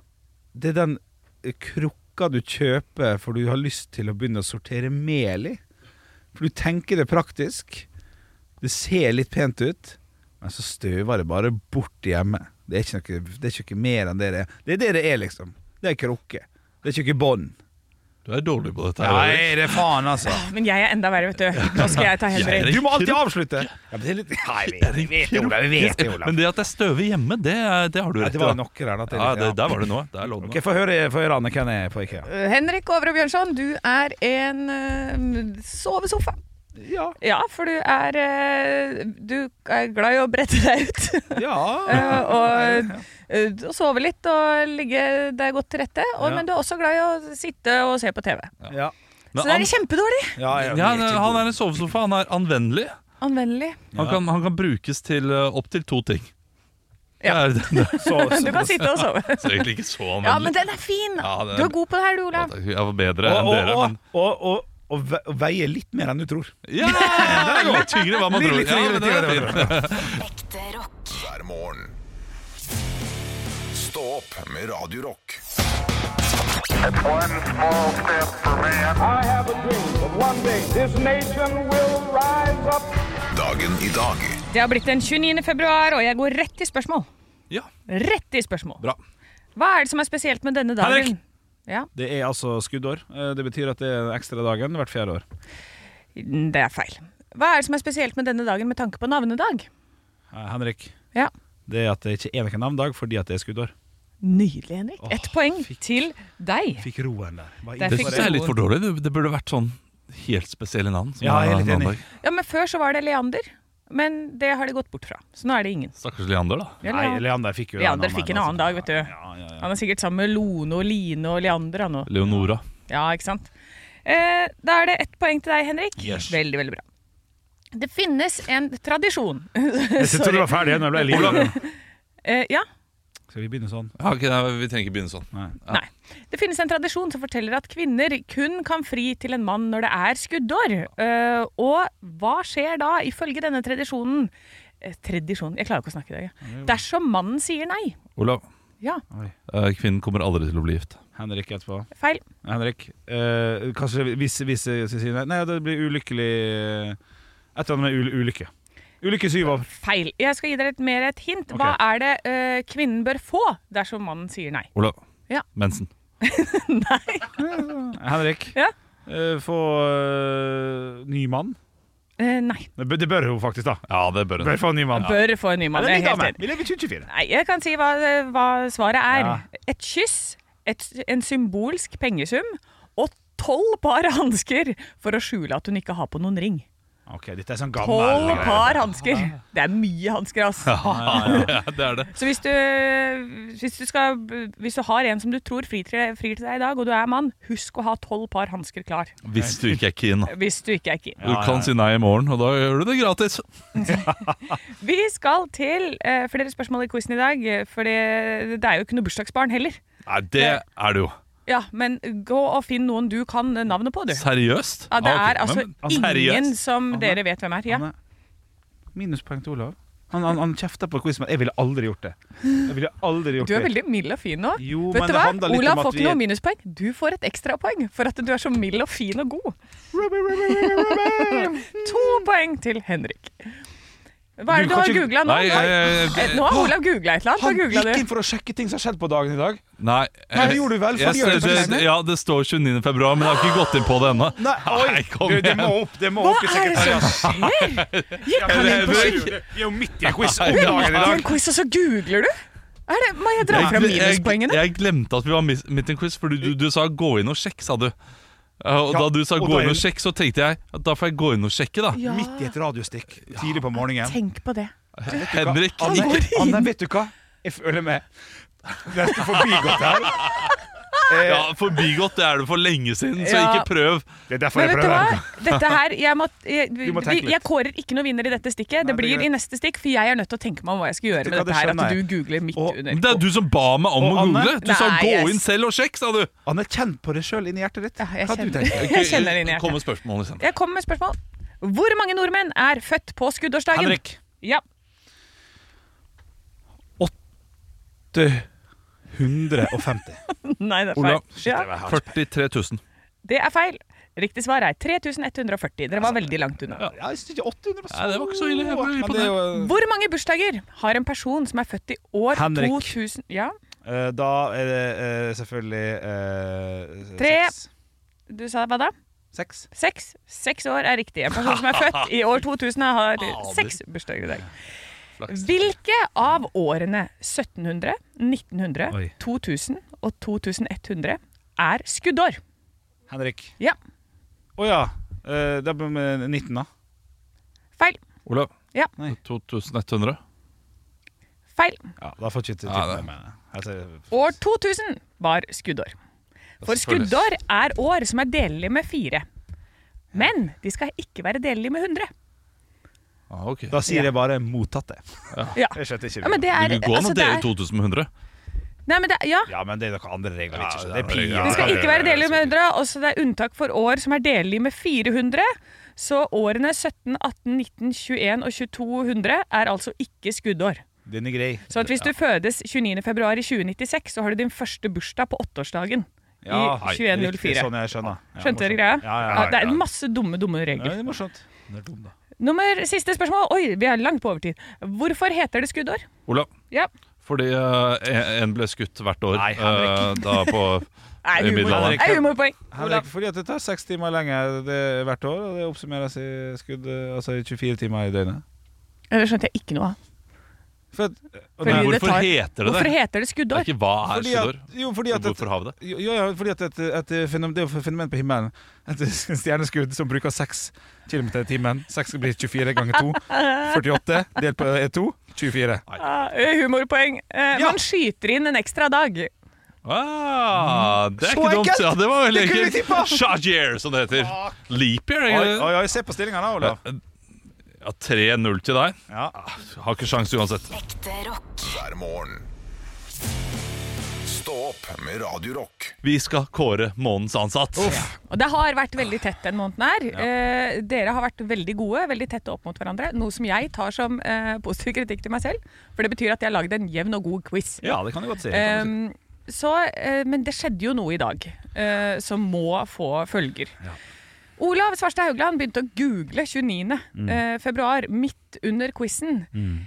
S5: Det er den eh, krukka du kjøper for du har lyst til å begynne å sortere mel i. For du tenker det praktisk. Det ser litt pent ut, men så støver det bare bort hjemme. Det er ikke noe, det er ikke noe mer enn det det er. Det er det det er, liksom. Det er krukke. Det er ikke bånd.
S4: Du er dårlig på dette.
S6: her,
S5: Nei,
S6: Erik.
S5: det er faen, altså.
S6: Men jeg er enda verre, vet du. Nå skal jeg ta hender inn.
S5: Du må alltid avslutte! Ja, men det er litt... Nei, vi vi vet det, Olav. Vi vet det, Olav.
S4: (laughs) Men det at det er støve hjemme, det, er- det har du
S5: Ja,
S4: rett i.
S5: det var
S4: da.
S5: nok her, da, til-
S4: Ja, det,
S5: ja.
S4: der var det nå. Der lå det nå.
S5: Ok, Få høre, få høre Anne, hvem er på IKEA?
S6: Eh, Henrik Overud Bjørnson, du er en eh, sovesofa.
S5: Ja.
S6: for du er eh, Du er glad i å brette deg ut. (laughs) Eh, og, eh, og sove litt og ligge deg godt til rette. Og,
S4: Ja.
S6: Men du er også glad i å sitte og se på TV.
S5: Ja.
S4: Men
S6: Så det
S4: an-
S6: er kjempedårlig.
S4: Ja, han er en sovesofa. Han er anvendelig.
S6: Anvendelig.
S4: Han, kan, han kan brukes til uh, opptil to ting. Ja.
S6: så- Du kan sitte og sove.
S4: (laughs) så egentlig ikke så anvendelig.
S6: Ja, men den er fin!
S4: Ja, det-
S6: Du er god på det her, du, Olav.
S4: Jeg var bedre
S5: Og-
S4: enn
S5: og-
S4: dere.
S5: og-
S4: Men
S5: Og, og, og, ve- og veie litt mer enn du tror.
S4: (laughs) Ja! det er litt tyngre enn hva man
S5: Litt-
S4: tror.
S5: litt
S4: Ja,
S5: tyngre,
S4: men det
S5: tyngre,
S4: er fint.
S3: hver morgen. Stå opp med Radio Rock. Dagen i dag
S6: Det har blitt den 29. februar, og jeg går rett i spørsmål.
S4: Ja.
S6: Rett i spørsmål.
S4: Bra.
S6: Hva er det som er spesielt med denne dagen?
S5: Henrik!
S6: Ja,
S5: Det er altså skuddår. Eh, Det betyr at det er ekstra dagen hvert fjerde år.
S6: Det er feil. Hva er det som er spesielt med denne dagen med tanke på navnedag?
S5: Eh, Henrik,
S6: Ja.
S5: det er at det ikke er noen navndag fordi at det er skuddår.
S6: Nydelig, Henrik. Ett poeng til deg.
S5: Fikk roen der. Bare
S6: Der
S4: Det
S6: fikk
S4: synes
S6: du
S4: jeg er litt
S6: noen.
S4: for dårlig. Det, det burde vært sånn helt spesielle navn. som
S5: Ja, jeg er
S4: har
S5: litt enig.
S4: navnedag.
S6: Ja, men Før så var det Leander, men det har de gått bort fra. Så nå er det ingen.
S4: Stakkars Leander, da.
S6: Ja, Leander. Nei,
S5: Leander fikk
S6: Leander fikk
S5: altså.
S6: en annen dag, vet du. Han er sikkert sammen med Lone og Line og Leander han nå.
S4: Leonora.
S6: Ja, ikke sant? Eh, da er det ett poeng til deg, Henrik. Veldig, veldig bra. Det finnes en tradisjon
S5: Jeg trodde du var ferdig igjen, jeg ble livredd.
S6: Eh, ja,
S5: Skal vi begynne sånn?
S4: Ja, ok, nei, vi trenger ikke begynne sånn. Ja.
S6: Nei. Det finnes en tradisjon som forteller at kvinner kun kan fri til en mann når det er skuddår. Eh, og hva skjer da, ifølge denne tradisjonen? Eh, tradisjon Jeg klarer ikke å snakke i dag. jeg. Dersom mannen sier nei.
S4: Olav,
S6: Ja,
S4: eh, kvinnen kommer aldri til å bli gift.
S5: Henrik etterpå.
S6: feil.
S5: Henrik, eh, kanskje hvis, hvis jeg skal si nei, nei, det blir ulykkelig eh, Et eller annet med ul ulykke. Ulykke syv år.
S6: Feil. Jeg skal gi dere et, mer et hint. Hva er det eh, kvinnen bør få dersom mannen sier nei?
S4: Olav.
S6: Ja.
S4: Mensen.
S5: Henrik,
S6: Ja.
S5: eh, få eh, ny mann.
S6: Eh, nei.
S5: Det bør- det bør hun faktisk, da.
S4: Ja, det bør hun.
S5: Bør få en ny mann.
S6: Bør få en ny mann.
S5: Eller
S6: Jeg
S5: ny
S6: er helt
S5: dame.
S6: enig.
S5: Vi lever i 2024.
S6: Nei, jeg kan si hva, hva svaret er.
S5: Ja.
S6: Et kyss, et, en symbolsk pengesum og tolv par hansker for å skjule at hun ikke har på noen ring.
S5: Ok, dette er sånn gammel
S6: Tolv
S5: greie.
S6: par hansker! Det er mye hansker, ass.
S4: Ja, det er det.
S6: Så hvis du, hvis, du skal, hvis du har en som du tror frir til, frir til deg i dag, og du er mann, husk å ha tolv par hansker klar.
S4: Hvis du ikke er keen. da.
S6: Hvis du ikke er keen.
S4: Du kan si nei i morgen, og da gjør du det gratis.
S6: Vi skal til eh, flere spørsmål i quizen i dag, eh, for det, det er jo ikke noe bursdagsbarn heller.
S4: Nei, det er det jo.
S6: Ja, men gå og finn noen du kan navnet på, du.
S4: Seriøst?
S6: Ja, det
S4: Ah, ok.
S6: er altså
S4: Men- altså,
S6: ingen
S4: seriøst? Ah,
S6: som dere vet hvem er. Ja.
S5: Minuspoeng til Olav. Han, han, han kjefter på quizen, men jeg ville aldri gjort det. Jeg ville aldri gjort
S6: Du er
S5: det.
S6: veldig mild og fin nå.
S5: Jo, men
S6: vet du
S5: det
S6: hva?
S5: handler litt om
S6: Olav
S5: at
S6: får
S5: vi
S6: ikke
S5: er-
S6: noe minuspoeng. Du får et ekstrapoeng for at du er så mild og fin og god. to poeng til Henrik. Hva er
S5: Du
S6: det du
S5: kan
S6: har
S5: ikke-
S6: googla nå?
S4: Nei, jeg- jeg-
S6: Eh, Nå har Olav googla et eller annet. Hva
S5: Han
S6: googlet
S5: gikk
S6: du?
S5: inn for å sjekke ting som har skjedd på dagen i dag.
S4: Nei,
S5: Nei,
S4: eh,
S5: det gjorde du vel, for
S4: jeg
S5: de gjør det
S4: ser-
S5: på
S4: det,
S5: skjermen.
S4: Ja, det står 29. februar, men jeg har ikke gått inn på det ennå.
S5: Nei, oi,
S4: kom
S5: du, det må
S4: igjen.
S5: opp, det må opp i
S6: Hva er det som
S5: sekretariatet.
S6: Gikk han inn på
S5: det-
S6: sykkel?
S5: Vi er jo midt i en quiz om
S6: Vi er
S5: dagen i
S6: midt i
S5: dag.
S6: en quiz, og så googler du? Er det, må jeg dra
S4: Jeg-
S6: fram
S4: jeg-
S6: minuspoengene?
S4: Jeg glemte at vi var mis- midt i en quiz, for du, du, du sa 'gå inn og sjekk', sa du. Eh, Og
S5: Ja,
S4: da du sa
S5: og
S4: 'gå
S5: da
S4: inn
S5: er-
S4: og sjekk', så tenkte jeg at da får jeg gå inn og sjekke, da.
S6: Ja.
S5: Midt i et radiostikk tidlig på morgenen.
S6: Tenk på det.
S4: Henrik.
S5: Anne, Anne, vet du hva? Jeg føler meg nesten forbigått her.
S4: Ja, Forbigått det er det for lenge siden, så
S6: Ja.
S4: ikke prøv.
S5: Eh, Det er
S6: Men vet du hva? Dette her, jeg, må, jeg,
S4: Du må
S6: vi,
S4: tenke litt.
S6: jeg kårer ikke noen vinner i dette stikket. det
S4: det er
S6: blir i neste stikk, for jeg er nødt til å tenke meg om hva jeg skal gjøre med dette her. At du googler midt under.
S4: Det er du som ba meg om
S5: Og
S4: å
S5: Anne?
S4: google! Du sa
S6: Nei,
S4: 'gå
S6: jeg-
S4: inn selv og sjekk', sa du.
S5: Anne, kjenn på det sjøl inni hjertet ditt.
S6: jeg
S5: Hva du
S6: kjenner-
S5: tenker?
S6: (laughs) jeg kjenner det inni hjertet.
S4: Kom med spørsmål, liksom.
S6: Jeg kommer med spørsmål. Hvor mange nordmenn er født på skuddårsdagen?
S4: Henrik.
S6: Ja. (laughs)
S5: 150.
S6: Nei, det er feil.
S4: Ola.
S6: Ja,
S4: 43 000.
S6: det er feil. Riktig svar er 3140. Dere var veldig langt unna.
S5: Jeg syns ikke 800 var så
S4: Nei, det var ikke så ille. Jeg prøver på
S5: Men det er
S4: det.
S5: jo-
S6: Hvor mange bursdager har en person som er født i år
S5: Henrik.
S6: 2000 Ja,
S5: Eh, Da er det eh, selvfølgelig eh,
S6: tre Du sa hva da?
S5: Seks.
S6: Seks Seks år er riktig. En person som er født i år
S5: (laughs)
S6: 2000, har seks bursdager i dag. Hvilke av årene 1700, 1900,
S5: Oi.
S6: 2000 og 2100 er skuddår?
S5: Henrik.
S6: Ja,
S5: Å ja. Eh, Da blir vi 19, da.
S6: feil.
S4: Olav.
S6: Ja.
S4: 2100.
S6: Feil.
S5: Ja, da får ikke til
S4: Ja, det-
S5: med meg. Altså,
S6: År 2000 var skuddår. For
S5: Selvfølgelig.
S6: skuddår er år som er delelig med fire. Men de skal ikke være delelig med 100.
S4: Ah,
S5: Da sier jeg bare 'mottatt', det.
S6: Ja.
S5: Jeg skjønte ikke
S6: Ja, men det er-
S4: Du går an
S6: altså,
S4: å
S6: det
S4: dele
S6: er-
S4: 2000 med 100.
S6: Nei, men det, ja.
S5: Ja, men det er noen andre regler. ikke sant? det er Altså,
S4: det er
S5: pi.
S4: regler.
S6: Det skal ikke være delelig med 100, og så det er unntak for år som er delelig med 400. Så årene 17, 18, 19, 21 og 2200 er altså ikke skuddår.
S5: Den er grei.
S6: Så Sånn at hvis du fødes 29. februar i 2096, så har du din første bursdag på åttårsdagen
S5: Ja,
S6: i
S5: hei, riktig,
S6: 2104.
S5: Sånn jeg skjønner. Ja,
S6: Skjønte
S5: morsomt.
S6: dere
S5: Ja,
S6: greia?
S5: ja,
S6: Ja,
S5: ja,
S6: det er
S5: ja.
S6: masse dumme, dumme
S5: Ja, det
S6: regler.
S5: er morsomt. Den er dum, da.
S6: Nummer siste spørsmål. Oi, vi er langt på overtid. Hvorfor heter det skuddår?
S4: Olav.
S6: Ja.
S4: Fordi eh, en ble skutt hvert år
S5: Nei, Henrik.
S4: eh, da på
S6: (laughs) Nei,
S4: i
S6: humor.
S4: middelalderen.
S6: Nei, humorpoeng. Olav.
S5: Henrik, fordi at det tar seks timer lenger det, hvert år, og det oppsummeres i skudd eh, Altså i 24 timer i døgnet.
S6: Det skjønte jeg ikke noe av.
S5: For,
S6: Fordi
S4: Men
S6: det
S4: hvorfor
S6: tar-
S4: heter det det?
S6: Hvorfor heter det
S4: Det
S6: skuddår?
S4: er ikke hva er
S5: Fordi at-
S4: skuddår.
S5: jo, fordi at
S4: Hvorfor har vi det?
S5: Jo, jo, ja, fordi at et, et fenomen, det er jo et fenomen på himmelen. Et (laughs) stjerneskudd som bruker 6 km i timen. 6 blir 24 ganger 2. 48 delt på eh, 2 24.
S6: Ah, humorpoeng. Eh, Man skyter inn en ekstra dag.
S4: Ah, det er
S5: Så
S4: ikke dumt.
S5: enkelt!
S4: Ja, det var veldig
S5: Det kunne vi
S4: enkelt.
S5: tippa!
S4: Shot year, som det heter. Leap year.
S5: Oi,
S4: egentlig.
S5: oi, oi, se på stillinga da, Olav.
S4: Ja, 3-0 til deg.
S5: Ja.
S4: Har ikke sjans uansett.
S3: Hver morgen. Stå opp med Radio Rock.
S4: Vi skal kåre månedens ansatt.
S6: Og det har vært veldig tett den måneden her. Eh, dere har vært veldig gode, veldig tette opp mot hverandre. Noe som jeg tar som eh, positiv kritikk til meg selv, for det betyr at jeg har lagd en jevn og god quiz.
S5: Ja, det kan du godt si.
S6: Ehm, så, eh, men det skjedde jo noe i dag eh, som må få følger. Olav Svarstad Haugland begynte å google 29.
S8: Mm.
S6: eh, februar, midt under quizen.
S8: Mm.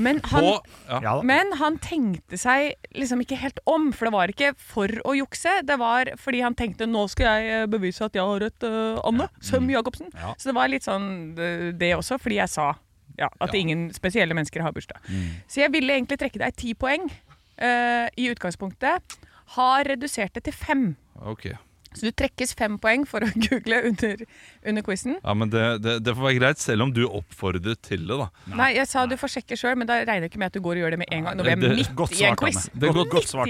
S6: Men han,
S8: På- ja. Ja da.
S6: men han tenkte seg liksom ikke helt om, for det var ikke for å jukse. Det var fordi han tenkte 'nå skal jeg eh, bevise at jeg har rett, eh, Anne Søm Jacobsen'. Så det var litt sånn eh, det også, fordi jeg sa ja, Mm. at ingen spesielle mennesker har bursdag. Så jeg ville egentlig trekke deg ti poeng eh, i utgangspunktet. Har redusert det til fem.
S4: Ok.
S6: Så du trekkes fem poeng for å (laughs) google under, under quizen.
S4: Ja, men det, det, det får være greit, selv om du oppfordret til det, da.
S6: Nei. jeg sa du får sjekke sjøl, men da regner jeg ikke med at du går og gjør det med en gang. Når vi
S4: Det-
S6: er midt i en quiz.
S4: Det
S6: Midt
S4: er godt,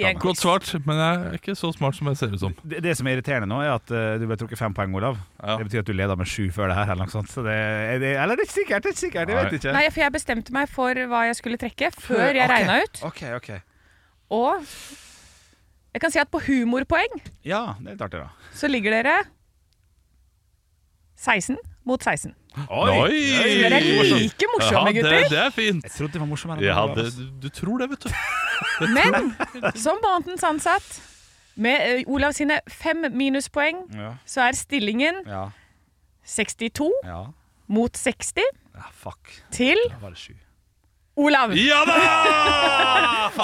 S6: i en
S4: godt svart, men jeg er ikke så smart som jeg ser ut som.
S5: Det, det som er irriterende nå, er at eh, du ble trukket fem poeng, Olav. Det betyr at du leder med sju før det her, eller noe sånt. Så det, er det, eller det er ikke sikkert, det er ikke sikkert, jeg vet ikke.
S6: Nei, for jeg bestemte meg for hva jeg skulle trekke før jeg
S5: Ok,
S6: regna ut.
S5: Ok, ok.
S6: Og jeg kan si at på humorpoeng
S5: Ja, det er litt artig, da.
S6: så ligger dere 16 mot 16. Så dere er like morsomme,
S4: ja,
S6: gutter.
S4: Det, det er fint. Jeg
S5: trodde det var morsommere.
S6: enn
S4: Ja,
S6: det var,
S4: det, du, du tror det, vet du.
S6: Men som månedens ansatt, med eh, Olav sine fem minuspoeng,
S5: Ja.
S6: så er stillingen
S5: Ja.
S6: 62
S5: Ja. Ah,
S6: mot 60
S5: fuck.
S6: til
S5: Da var det sju.
S6: Olav.
S5: Ja
S6: (laughs)
S4: da!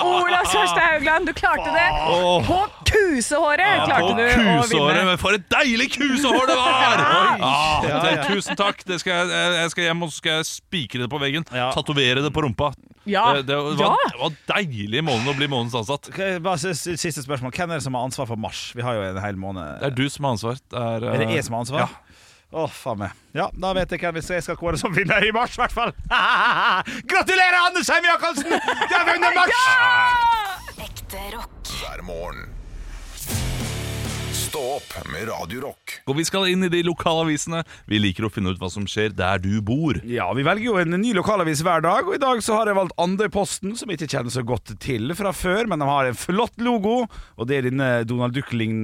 S6: Olav Svarstad Haugland, du klarte det.
S4: Åh.
S6: På kusehåret klarte
S4: på
S6: du å
S4: kusehåret,
S6: vinne.
S4: men for et deilig kusehår det
S6: (laughs)
S4: var!
S6: Ja.
S4: Ah,
S6: Ja,
S4: det,
S6: ja.
S4: tusen takk. Det skal jeg, jeg- jeg skal hjem og så skal jeg spikre det på veggen. Tatovere det på rumpa.
S6: Ja.
S4: Det, det, var,
S5: Ja.
S4: det var deilig måned å bli månedens ansatt.
S5: Ok, Bare s- s- Siste spørsmål. Hvem er det som har ansvar for mars? Vi har jo en hel måned.
S4: Det er du som har ansvar. Det er, eh,
S5: Er det jeg som har ansvar?
S4: Ja.
S5: Å, faen meg. Ja, da vet jeg hvem jeg skal kåre som vinner i mars, i hvert fall. (laughs) Gratulerer, Anders Heim Jacobsen! Du har vunnet mars!
S3: Hver morgen. Stå opp med Radio Rock.
S4: Og vi skal inn i de lokalavisene. Vi liker å finne ut hva som skjer der du bor.
S5: Ja, vi velger jo en ny lokalavis hver dag, og i dag så har jeg valgt Andøyposten, som jeg ikke kjenner så godt til fra før, men de har en flott logo, og det er denne Donald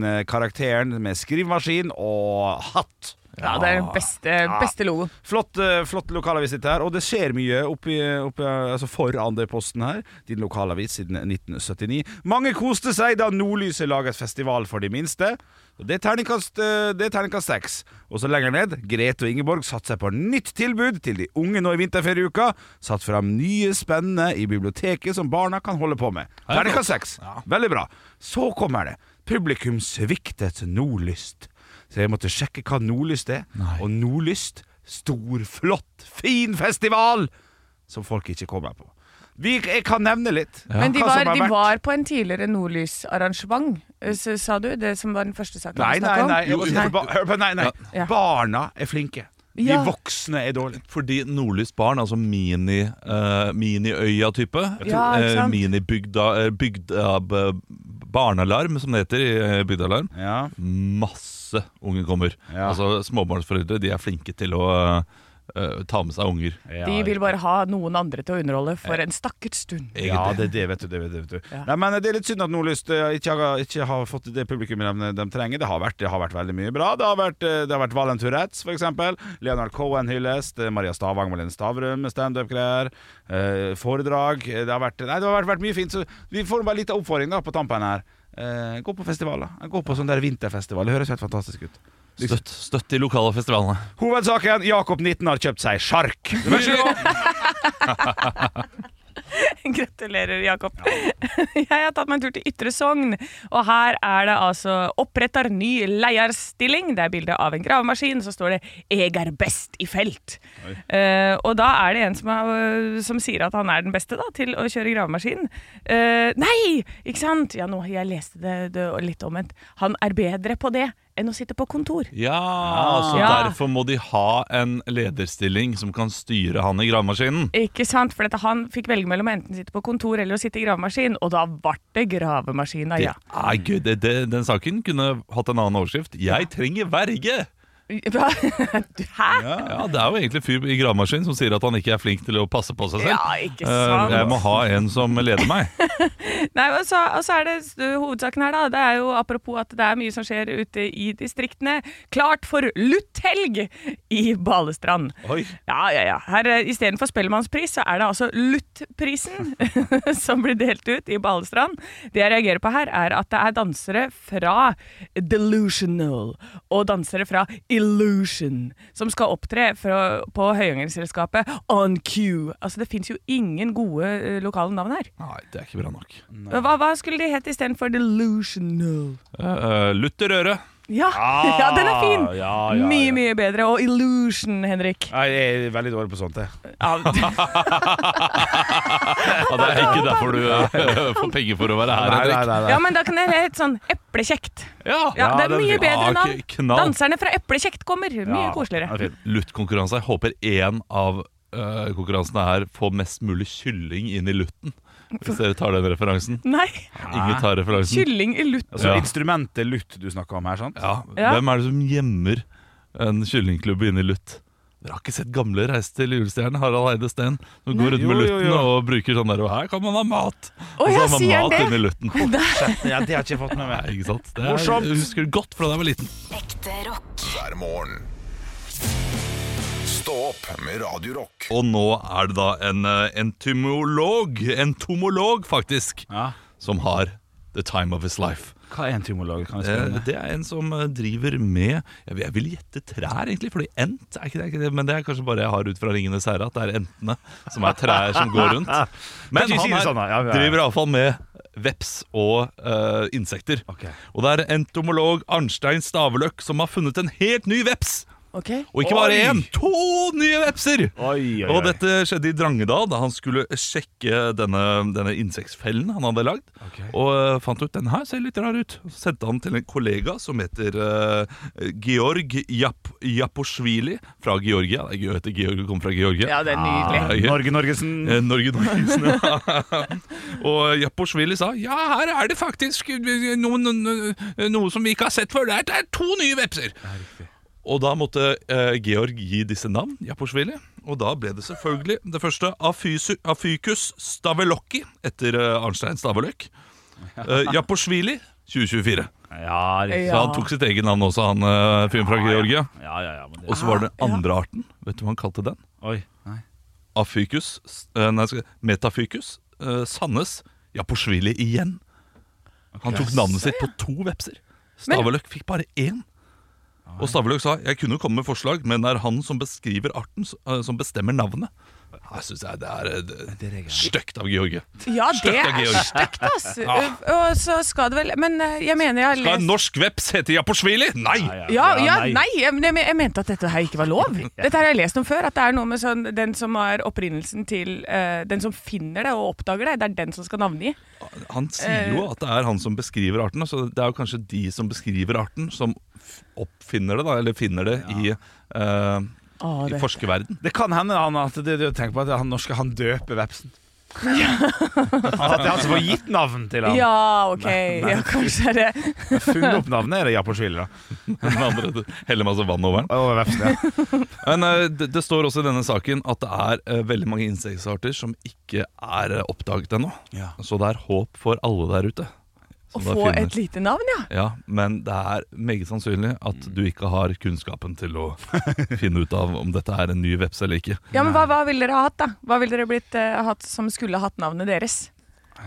S5: Duckling-karakteren med skrivemaskin og hatt.
S6: Ja, det er den beste, beste logoen.
S5: Flott, eh, flott lokalavis dette her, og det skjer mye oppi, oppi, altså for Andøyposten her. Din lokalavis siden 1979. Mange koste seg da Nordlyset laget festival for de minste. Og Det er terningkast, eh, det er terningkast seks. Og så lenger ned, Grete og Ingeborg satser på nytt tilbud til de unge nå i vinterferieuka. Satt fram nye spennende i biblioteket som barna kan holde på med.
S4: Ja, det er
S5: Terningkast
S4: flott.
S5: seks. Veldig bra. Så kommer det. Publikum sviktet Nordlyst. Så jeg måtte sjekke hva Nordlyst er. Og Nordlyst, stor, flott, fin festival som folk ikke kommer på. Vi, jeg kan nevne litt.
S6: Men de
S5: hva som
S6: var,
S5: har
S6: de
S5: vært.
S6: var på en tidligere Nordlys-arrangement, eh, s- sa du? Det som var den første saken
S5: Nei,
S6: vi
S5: nei,
S6: snakket om?
S5: nei. Jeg må si for ba- hør på, nei, nei.
S6: Ja.
S5: Barna er flinke. De
S6: Ja.
S5: voksne er dårlige.
S4: Fordi Nordlys barn, altså mini, eh, miniøya-type
S6: Ja, ikke sant?
S4: Minibygda eh, bygda, b- Barnealarm, som det heter i eh, Bygdealarm. Masse unge kommer. Altså Småbarnsforeldre de er flinke til å eh, eh, ta med seg unger.
S6: De vil bare ha noen andre til å underholde for en stakkars stund.
S5: Ja, det er det, vet du. Det, vet du, vet du. Nei, men det er litt synd at Nordlyst eh, ikke har, ikke har fått det publikummet de, de trenger. Det har, vært, det har vært veldig mye bra. Det har vært, eh, det har vært Valen Tourettes, for eksempel. Leonard Cohen hylles. Det er Maria Stavang Malene Stavrum, standup-greier. eh, foredrag. Eh, Det har vært, nei, det har vært, vært mye fint. Så vi får bare litt oppfordring da, på tampen her. Eh, gå på festivaler. Gå på sånn der vinterfestival. Det høres helt fantastisk ut.
S4: Støtt, støtt de lokale festivalene.
S5: Hovedsaken Jakob 19 har kjøpt seg sjark.
S6: (laughs) Gratulerer, Jakob. (laughs) Jeg har tatt meg en tur til Ytre Sogn, og her er det altså 'oppretter ny leierstilling'. Det er bilde av en gravemaskin, så står det 'Eg er best i felt'. Eh, og da er det en som, er, som sier at han er den beste da, til å kjøre gravemaskin. Eh, nei! Ikke sant? Ja, nå jeg leste det, det litt omvendt. Han er bedre på det enn å sitte på kontor.
S4: Ja, så
S6: Ja.
S4: derfor må de ha en lederstilling som kan styre han i gravemaskinen.
S6: Ikke sant, for dette, Han fikk velge mellom å enten sitte på kontor eller å sitte i gravemaskin, og da ble det gravemaskina, ja.
S4: Det er gøy. Det, det, den saken kunne hatt en annen overskrift. 'Jeg trenger verge'!
S6: (laughs) Hva? Hæ?
S4: Ja, Det er jo egentlig en fyr i gravemaskin som sier at han ikke er flink til å passe på seg selv.
S6: Ja, ikke sant.
S4: Eh, Jeg må ha en som leder meg.
S6: Nei, og så, og så er det ø, hovedsaken her, da. Det er jo apropos at det er mye som skjer ute i distriktene. Klart for lutthelg i Balestrand.
S4: Oi.
S6: Ja, ja, ja. Her, ø, Istedenfor Spellemannspris, så er det altså Luttprisen (laughs) som blir delt ut i Balestrand. Det jeg reagerer på her, er at det er dansere fra Delusional og dansere fra Illusion som skal opptre fra, på Høyangerselskapet On Q. Altså, det fins jo ingen gode ø, lokale navn her.
S4: Nei, det er ikke bra nok.
S6: Hva, hva skulle de hett istedenfor delusional?
S4: Uh, Lutterøre.
S6: Ja, (laughs)
S4: Ah,
S6: ja, (laughs) den er fin!
S4: ja, ja,
S6: Mye, mye bedre. Og illusion, Henrik.
S5: Nei, Jeg er veldig dårlig på sånt, jeg.
S4: Ja, det er ikke derfor du eh, får penger for å være her,
S5: Nei,
S4: Henrik.
S5: nei, nei,
S6: Ja, men da kan det hete sånn eplekjekt.
S4: Ja,
S6: det er
S4: den
S6: mye
S4: fin.
S6: bedre
S4: Ah,
S6: navn.
S4: k- knall.
S6: Danserne fra Eplekjekt kommer. Mye koseligere.
S4: Luttkonkurranse. Jeg håper én av eh, konkurransene her får mest mulig kylling inn i lutten. Hvis dere tar den referansen.
S6: (laughs) Nei.
S4: Ingen tar referansen.
S6: Kylling i lutt.
S4: Ja.
S5: Altså instrumentet lutt du snakker om her, sant?
S4: Ja.
S6: Ja.
S4: Hvem er det som gjemmer en kyllingklubb inne i lutt? Dere har ikke sett gamle Reis til julestjernen, Harald Eide Steen, som går rundt med
S5: Jo, jo,
S4: lutten
S5: jo.
S4: og bruker sånn der Og her kan man ha mat!
S6: Å,
S4: og
S6: ja,
S4: så har man
S6: sier han
S4: mat
S6: det?
S4: inni
S5: (laughs)
S4: lutten. (laughs)
S5: Ja, det har jeg ikke fått med meg.
S4: Nei, ikke sant? Det er,
S3: Morsomt.
S4: Jeg husker det godt fra da jeg var liten.
S3: Ekte rock. Hver morgen. Stå opp med Radio Rock.
S4: Og nå er det da en eh, entomolog, entomolog faktisk, som har the time of his life.
S5: Hva er en tymolog? Kan jeg spørre om
S4: Eh, Det er en som eh, driver med Jeg vil- jeg vil gjette trær, egentlig, fordi ent er ikke det, er ikke det, Men det er kanskje bare jeg har ut fra 'Ringenes herre' at det er entene som er trær som går rundt. Men
S5: Kan ikke si (laughs)
S4: han
S5: det
S4: her
S5: sånn, da. Ja, ja, ja.
S4: driver iallfall med veps og eh, insekter. Og det er entomolog Arnstein Staveløk som har funnet en helt ny veps Og ikke bare
S12: Oi.
S4: én, to nye vepser!
S12: oi,
S4: Og dette skjedde i Drangedal da han skulle sjekke denne, denne insektfellen han hadde lagd. Og eh, fant ut den her ser litt rar ut. Så sendte han til en kollega som heter eh, Georg Jap Japoshvili fra Georgia. Det er gøy å hete Georg kommer fra Georgia.
S5: Ja, det er nydelig. Norge Norgesen.
S4: Eh, Norge Norgesen, ja. (laughs) Og Japoshvili sa ja, her er det faktisk eh, noe, noe, eh, noe som vi ikke har sett før. Det er, det er to nye vepser! Og da måtte eh, Georg gi disse navn, Japoshvili. Og da ble det selvfølgelig det første Afysu, Afykus stavelokki etter eh, Arnstein Staveløk. Eh, Japoshvili 2024. Så han tok sitt eget navn også, han eh, fyren fra Georgia. Og så var det den andre arten. Vet du hva han kalte den?
S5: Oi, nei.
S4: Afykus eh, Nei, skal- metafykus. eh, Sandnes. Japoshvili igjen. Han tok navnet sitt på to vepser. Staveløk fikk bare én. Og Staveløk sa jeg kunne komme med forslag, men det er han som beskriver arten, s- eh, som bestemmer navnet. Her syns jeg det er eh, det- stygt av George.
S6: Ja, det
S4: Støkt av
S6: er
S4: Georg.
S6: stygt, ass.
S4: Ja.
S6: Uh, Og så skal det vel Men uh, jeg mener jeg har
S4: Ah. Skal en
S6: lest
S4: norsk veps hete Japoshvili? Nei!
S6: ja, ja, nei, jeg, men jeg, jeg mente at dette her ikke var
S4: (laughs)
S6: lov. Dette her har jeg lest om før. At det er noe med sånn, den som har opprinnelsen til eh, Den som finner det og oppdager det, det er den som skal navngi.
S4: Han sier jo
S6: Eh.
S4: at det er han som beskriver arten. Så det er jo kanskje de som beskriver arten, som f- oppfinner det, da, eller finner det i, eh,
S6: Å,
S4: i
S5: det-
S4: forskerverden. (laughs)
S5: Det kan hende han, at det, det, tenk på at han norske han døper vepsen. At det er han som får gitt navn til ham.
S6: Ja, ok.
S5: Nei, nei.
S6: Ja, kanskje er det
S5: Funnet opp navnet er det Japoshvili, da.
S4: Den andre heller masse vann over den.
S5: Over vepsen,
S4: (laughs)
S5: ja.
S4: Men eh, det, det står også i denne saken at det er eh, veldig mange insektarter som ikke er eh, oppdaget ennå. Så det er håp for alle der ute.
S6: Å
S4: som da
S6: få
S4: finner-
S6: et lite navn, ja.
S4: Ja, Men det er meget sannsynlig at du ikke har kunnskapen til å finne ut av om dette er en ny veps eller
S6: (laughs)
S4: ikke.
S6: Ja, men hva, hva ville dere ha hatt, da? Hva ville dere blitt eh, hatt som skulle hatt navnet deres?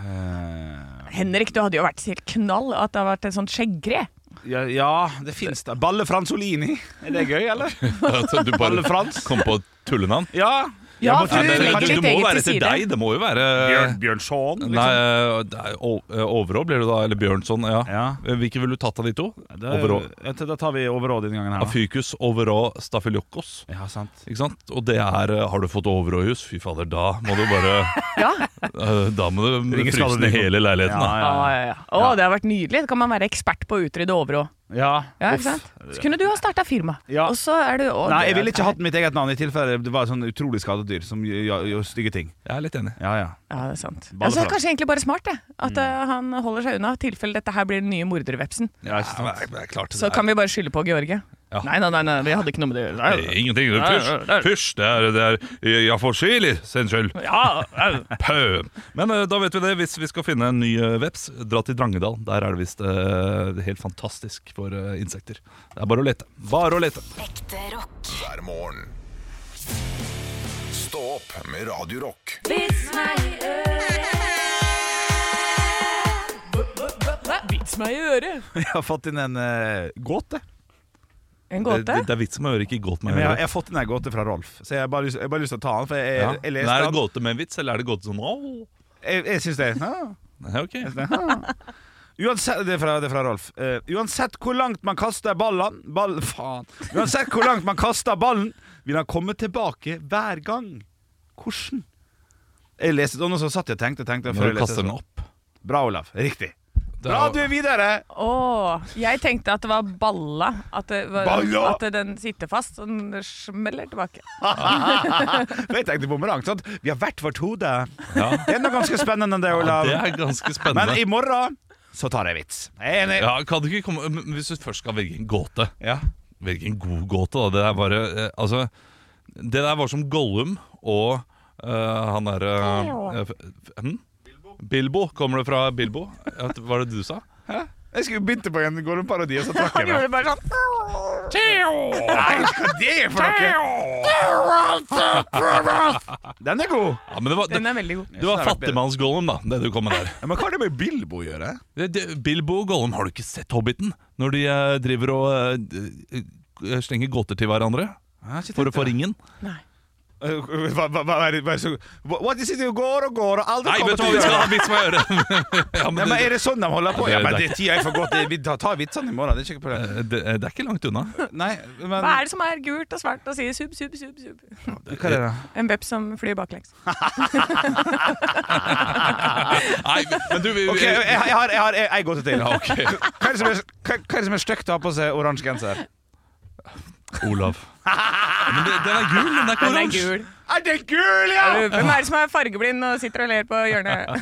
S5: Eh.
S6: Henrik, du hadde jo vært helt knall at det hadde vært en sånn skjeggre.
S5: Ja, ja det fins da. Balle Franzolini. Er det gøy, eller?
S4: At du
S5: Balle
S4: bare
S5: Frans.
S4: kom på et tullenavn.
S5: Ja.
S4: Ja,
S5: Jeg må
S4: for
S5: finne-
S4: du legger
S5: Kanskje-
S4: litt Det må jo være til deg, det må jo være
S5: Bjørn- Bjørnson, liksom.
S4: Nei, det er O- eh, Overå blir det da, eller Bjørnson, ja. Eh, Hvilke ville du tatt av de to?
S5: Det er-
S4: Overå.
S5: Ja, Da tar vi overråd denne gangen her. da.
S4: Afycus overå stafylokkos.
S5: Ja, sant.
S4: Ikke sant? Og det er eh, Har du fått overåjus? Fy fader, da må du bare (laughs) Eh, Da må du
S5: Ringe
S4: fryse
S5: skadedyr.
S4: ned hele leiligheten.
S5: Ja, ja,
S6: ja. Å, det hadde vært nydelig. Da kan man være ekspert på å utrydde overå.
S5: Ja,
S6: Ja,
S5: uff.
S6: ikke sant? Så kunne du ha starta firma. Og så er du å,
S5: Nei,
S6: det
S5: jeg ville
S6: er-
S5: ikke hatt mitt eget navn i tilfelle det var et sånn utrolig skadedyr som gjør, gjør stygge ting.
S4: Jeg er litt enig.
S5: Ja, ja.
S6: ja det er sant. Ja, så er det kanskje egentlig bare smart det, at
S5: Mm.
S6: eh, han holder seg unna, i tilfelle dette her blir den nye mordervepsen.
S5: Ja, ikke sant?
S4: det er klart
S6: Så kan vi bare skylde på George. Nei, nei, nei, nei, vi hadde ikke noe med det å gjøre.
S4: Nei, Eh, Ingenting. Det er
S6: Nei,
S4: Pysj! pysj, Det er, det er Ja, for chili, sin skyld.
S6: Ja,
S4: Pø. Men eh, da vet vi det. Hvis vi skal finne en ny eh, veps, dra til Drangedal. Der er det visst eh, helt fantastisk for eh, insekter. Det er bare å lete. Bare å lete.
S3: Ekte rock. Hver morgen. Stå opp med Radio Rock.
S8: Vits meg i øret.
S6: Vits meg i øret.
S5: Jeg har fått inn en eh, gåte.
S6: En
S4: Det, det, det er vits med å høre, ikke godt
S5: Men
S4: med å
S5: jeg,
S4: høre.
S5: jeg har fått inn en gåte fra Rolf, så jeg har bare, lyst- jeg har bare lyst til å ta den. For jeg,
S4: Ja.
S5: jeg, jeg
S4: Men
S5: leste
S4: er det
S5: den.
S4: gåte med en vits, eller er det gåte sånn Au!
S5: Jeg, jeg syns det. Ja.
S4: Nei, ok.
S5: Jeg synes det. Ja. Uansett, det, er fra, det er fra Rolf. Eh, uansett hvor langt man kaster ballen ball, (laughs) Faen. Uansett hvor langt man kaster ballen, vil han komme tilbake hver gang. Hvordan? Jeg leste den, og så satt jeg og tenkte. tenkte
S4: Når
S5: før
S4: du
S5: jeg leste
S4: kaster den
S5: opp. Bra, Olav. Riktig.
S4: er
S5: Bra,
S4: jo-
S5: du er videre!
S6: Åh, jeg tenkte at det var balla. At, det var,
S5: Balla!
S6: at den sitter fast og den smeller tilbake.
S5: For jeg tenkte bumerang. sant? Vi har hvert vårt hode. Det er noe ganske spennende, det, Olav.
S4: det er ganske spennende.
S5: Men i morgen så tar jeg vits. Jeg er enig.
S4: Ja, kan du ikke komme men Hvis du først skal velge en gåte Velge en god gåte da Det der bare eh, Altså Det der var som Gollum Og eh, han der eh, eh, f- f- hm? Bilbo Kommer det fra Bilbo? Ja, det- Var det du sa?
S5: Hæ? Jeg skulle begynte på en Gollum-parodi, og så trakk
S8: Han
S5: jeg
S8: gjorde det
S5: meg.
S8: bare sånn
S5: Nei, hva er det for noe? Den er god.
S4: Ja, men det var, det,
S6: Den er veldig god.
S4: det var fattigmanns-Gollum da Det du kom med der
S5: Men hva har det med Bilbo å gjøre?
S4: det, det, Bilbo og Gollum Har du ikke sett Hobbiten? Når de eh, driver og eh, d- eh, Slenger gåter til hverandre
S5: Jeg har ikke
S4: For
S5: tenkt
S4: å få
S5: det.
S4: ringen
S5: Eh, hva- hva- hva er det- hva er det som- Hva- What is it du går og går og aldri
S4: Nei,
S5: kommer
S4: vet du hva,
S5: til
S4: vi skal
S5: å
S4: ha en vits med å gjøre. (laughs) Ja,
S5: Nei, men Er det sånn de holder på? Ja, men det Eh. er tida er for godt. Det- Vi tar vitsene i morgen. Det er ikke
S4: det, det er ikke langt unna.
S5: Nei, men
S6: Hva er det som er gult og svart og sier sub, sub, sub? sub?
S5: Hva er det da?
S6: En veps som flyr baklengs.
S4: Nei, men du vi,
S5: Ok, jeg, jeg har, jeg har jeg, jeg gåte til.
S4: Ja, ok.
S5: Hva er det som er, hva, hva er, det som er stygt å ha på seg oransje genser?
S4: (laughs) Olav. Men det, den er gul, den er ikke
S6: Den er
S4: oransje.
S6: gul.
S5: Er det gul, ja?!
S6: Hvem er det som er fargeblind og sitter og ler på hjørnet?